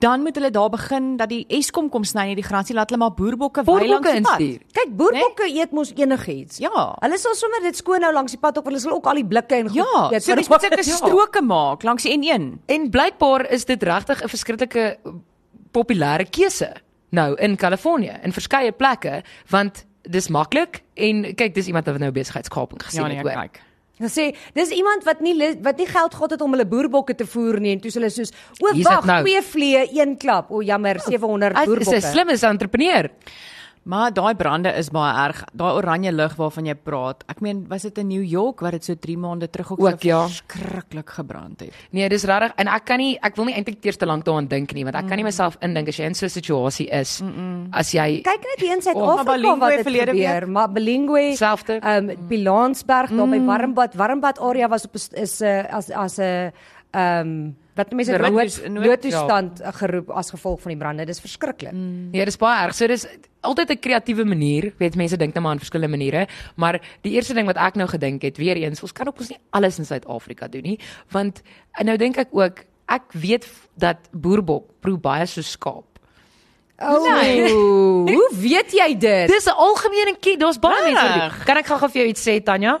Speaker 3: Dan moet hulle daar begin dat die Eskom kom sny nie die gras nie, laat hulle maar boerbokke wei langs
Speaker 4: Boerbokke
Speaker 3: die pad.
Speaker 4: instuur.
Speaker 2: Kyk, boerbokke nee? eet mos enigiets.
Speaker 3: Ja.
Speaker 2: Hulle sal sommer dit skoon hou langs die pad op, hulle sal ook al die blikke en goed
Speaker 3: Ja,
Speaker 2: eet,
Speaker 3: so
Speaker 2: maar-
Speaker 3: dis moet sulke
Speaker 2: Ja.
Speaker 3: stroke maak langs die N1.
Speaker 4: En blykbaar is dit regtig 'n verskriklike populêre keuse nou in Kalifornië in verskeie plekke want dis maklik en kyk dis iemand wat nou besigheidskaping gesien
Speaker 3: Ja nee,
Speaker 4: het hoor.
Speaker 3: kyk.
Speaker 2: Dan sê dis iemand wat nie li- wat nie geld gehad het om hulle boerbokke te voer nie en toe is hulle soos o
Speaker 4: Hier is
Speaker 2: wag
Speaker 4: dit nou."
Speaker 2: twee vliee een klap o jammer 700
Speaker 4: Hy is 'n
Speaker 2: boerbokke.
Speaker 4: slimme entrepreneur.
Speaker 3: Maar daai brande is baie erg. Daai oranje lig waarvan jy praat. Ek meen, was dit in New York wat dit so 3 maande terug ook,
Speaker 4: Ook, ja.
Speaker 3: skrikkelik gebrand het?
Speaker 4: Nee, dis regtig en ek kan nie ek wil nie eintlik eers te lank daaraan dink nie want ek kan nie myself indink as jy in so 'n situasie is mm -mm. as jy
Speaker 2: Kyk net hier in
Speaker 3: maar
Speaker 2: Suid-Afrika
Speaker 3: Balingwe
Speaker 2: wat dit
Speaker 3: verlede
Speaker 2: gebeur, maar Belingwe,
Speaker 4: Selfde.
Speaker 2: ehm um, Pilansberg daar by Warmbad, Warmbad area was op 'n- is 'n as as 'n ehm um, wat mense
Speaker 3: Nood-
Speaker 2: nood
Speaker 3: nood-
Speaker 2: noodtoestand ja. geroep as gevolg van die brande. Dis verskriklik. Mm.
Speaker 4: ja, dis baie erg. So dis altyd 'n kreatiewe manier. Weet mense dink nou maar aan verskillende maniere, maar die eerste ding wat ek nou gedink het, weer eens, ons kan ook ons nie alles in Suid-Afrika doen nie, want en nou dink ek ook ek weet f- dat boerbok proe baie so skaap.
Speaker 2: Oh,
Speaker 3: Nee.
Speaker 2: hoe weet jy dit?
Speaker 4: Dis 'n algemene ken, daar's baie mense wat dit
Speaker 3: Reg.
Speaker 4: doen. Kan ek gou-gou vir jou iets sê Tanya?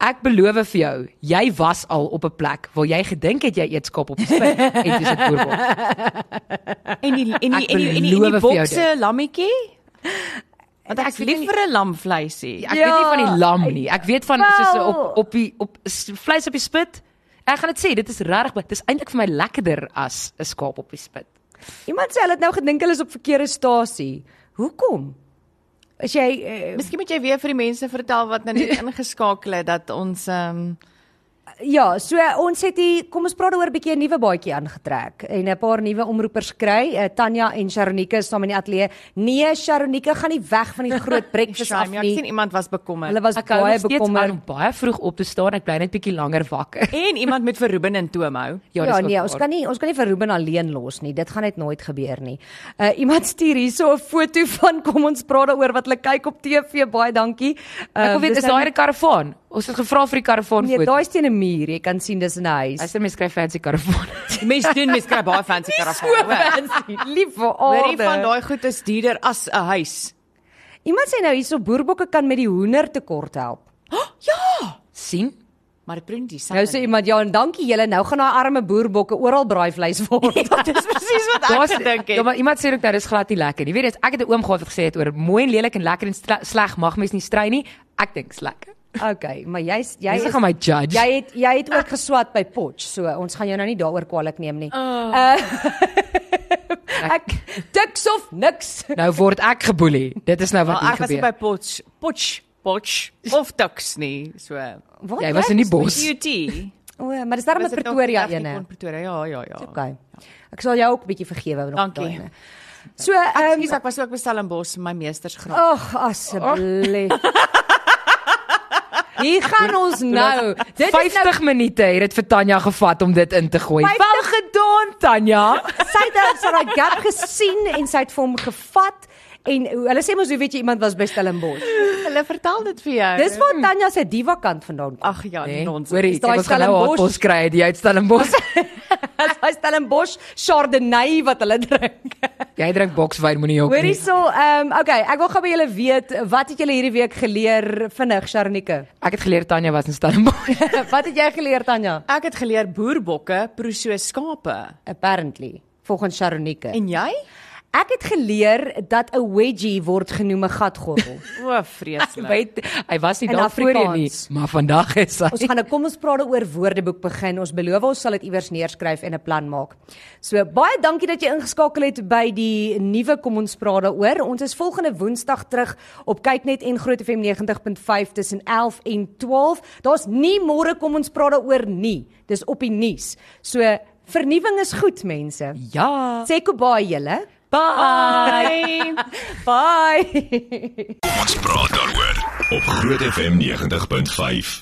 Speaker 4: Ek beloof vir jou, jy was al op 'n plek waar jy gedink het jy eet skaap op die spyn en dis dit boerbok.
Speaker 3: En die en die
Speaker 4: Ek
Speaker 3: en die, en die, en
Speaker 4: beloof
Speaker 3: die
Speaker 4: vir jou
Speaker 3: bokse lammetjie? Want ek Ja,
Speaker 4: Ek
Speaker 3: is
Speaker 4: weet
Speaker 3: lief
Speaker 4: nie-
Speaker 3: vir 'n lamvleisie.
Speaker 4: Ek weet nie van die lam nie. Ek weet van
Speaker 2: Ja. Wel.
Speaker 4: soos op op die op s- vleis op die spit. Ek gaan dit sê, dit is regtig, dit is eintlik vir my lekkerder as 'n skaap op die spit.
Speaker 2: Iemand sê hulle het nou gedink hulle is op verkeerde stasie. Hoekom? As jy uh,
Speaker 3: Miskien moet jy weer vir die mense vertel wat nou net ingeskakel het dat ons ehm um,
Speaker 2: ja, so eh, ons het hier kom ons praat oor 'n bietjie 'n nuwe baadjie aangetrek en 'n paar nuwe omroepers kry. Uh, Tanya en Sharonika is saam in die ateljee. Nee, Sharonika gaan nie weg van die groot breakfast af
Speaker 3: shame, ja, ek sien
Speaker 2: nie.
Speaker 3: iemand was bekommerd.
Speaker 2: Hulle was
Speaker 4: Ek hou
Speaker 2: baie
Speaker 4: nog steeds aan
Speaker 2: bekommerd.
Speaker 4: om baie vroeg op te staan. Ek bly net bietjie langer wakker.
Speaker 3: en iemand moet vir Ruben en Tom hou.
Speaker 2: Ja,
Speaker 4: dis
Speaker 2: ja
Speaker 4: ook
Speaker 2: nee,
Speaker 4: waar.
Speaker 2: ons kan nie ons kan nie vir Ruben alleen los nie. Dit gaan net nooit gebeur nie. Uh iemand stuur hierso 'n foto van kom ons praat daaroor wat hulle kyk op TV. Baie dankie. Uh,
Speaker 4: Ek wil weet
Speaker 2: dis
Speaker 4: is
Speaker 2: nou
Speaker 4: daai 'n karavaan? Ons het gevra vir die karavaan
Speaker 2: Nee,
Speaker 4: foto.
Speaker 2: daai is teen 'n muur. Jy kan sien dis 'n huis.
Speaker 4: As jy mens skryf fancy karavaan.
Speaker 3: Mense doen mense kry baie fancy karavaan.
Speaker 2: Lief vir
Speaker 3: Hoorie van
Speaker 2: aarde.
Speaker 3: daai goed is duurder as 'n huis.
Speaker 2: Iemand sê nou hierso boerbokke kan met die hoender tekort help.
Speaker 4: sien?
Speaker 3: Maar dit bring die
Speaker 2: Nou sê iemand ja en dankie julle nou gaan daai arme boerbokke oral braaivleis word.
Speaker 3: Ja, dis presies wat ek
Speaker 4: Daar's
Speaker 3: gedink
Speaker 4: ja,
Speaker 3: het.
Speaker 4: maar iemand sê ook nou dis glad nie lekker nie. Weet jy, ek het 'n oom gehad wat gesê het oor mooi en lelik en lekker en stra- sleg mag mens nie strei nie. Ek dink is lekker.
Speaker 2: okay, maar jy's jy
Speaker 4: Mense
Speaker 2: is
Speaker 4: gaan my judge.
Speaker 2: Jy het jy het ook geswat by Potch, so ons gaan jou nou nie daaroor kwaliek neem nie.
Speaker 3: Oh.
Speaker 2: Uh, ek tiks of niks.
Speaker 4: Nou word ek geboelie. Dit is nou wat
Speaker 3: Maar
Speaker 4: hier
Speaker 3: ek was
Speaker 4: gebeur.
Speaker 3: nie by Potch, Potch, Potch of Tuks nie, so.
Speaker 2: Wat?
Speaker 4: Jy was in die bos.
Speaker 3: UT.
Speaker 2: O, maar dis daarom 'n
Speaker 3: Was dit nog
Speaker 2: Pretoria
Speaker 3: die dag nie
Speaker 2: ene.
Speaker 3: kon Pretoria, ja, ja, ja.
Speaker 2: Okay. Ek sal jou ook 'n bietjie vergewe nog
Speaker 3: Dankie.
Speaker 2: daai ene. So, ehm
Speaker 3: Ekskuus, ek was ook bestel in Bos vir my meestersgraad.
Speaker 2: Ag asseblief. Hier gaan ons nou. Dit is
Speaker 4: 50
Speaker 2: nou
Speaker 4: minute het dit vir Tanya gevat om dit in te gooi.
Speaker 2: 50
Speaker 4: Wel gedoen Tanya.
Speaker 2: sy het sy het daai gap gesien en sy het vir hom gevat en hoe- hulle sê mos hoe weet jy iemand was by Stellenbosch.
Speaker 3: Hulle vertel dit vir jou.
Speaker 2: Dis waar Tanya se diva kant vandaan kom.
Speaker 3: Ag ja, nee,
Speaker 4: Ons
Speaker 3: ons
Speaker 4: hoor
Speaker 2: Is
Speaker 4: iets,
Speaker 2: daai
Speaker 4: ons gaan nou
Speaker 2: Stellenbosch-
Speaker 4: hotpos kry, die uitstellingbos.
Speaker 2: As hy Stellenbosch Chardonnay wat hulle drink.
Speaker 4: Jy drink bokswyn moenie jok
Speaker 2: Hoor
Speaker 4: nie.
Speaker 2: hierso, ehm um, okay, ek wil gou by julle weet, wat het julle hierdie week geleer vinnig, Sharnike?
Speaker 4: Ek het geleer Tanya was in Stellenbosch.
Speaker 2: wat het jy geleer Tanya?
Speaker 3: Ek het geleer boerbokke proe so skape.
Speaker 2: Apparently, volgens Sharnike.
Speaker 3: En jy?
Speaker 2: Ek het geleer dat 'n wedgie word genoem 'n gatgorrel.
Speaker 3: O, vreeslik.
Speaker 4: Hy het- hy was nie
Speaker 2: In
Speaker 4: daar voor jou nie,
Speaker 2: Afrikaans.
Speaker 4: maar vandag is hy.
Speaker 2: Ons gaan 'n kom ons praat oor woordeboek begin. Ons beloof ons sal dit iewers neerskryf en 'n plan maak. So baie dankie dat jy ingeskakel het by die nuwe kom ons praat daaroor. Ons is volgende Woensdag terug op Kyknet en Groot FM 90.5 tussen 11 en 12. Daar's nie môre kom ons praat daaroor nie. Dis op die nuus. So vernuwing is goed mense.
Speaker 4: Ja.
Speaker 2: Sê goodbye julle.
Speaker 4: Bye.
Speaker 2: Bye.
Speaker 1: Kom ons praat daaroor op Groot FM 90.5.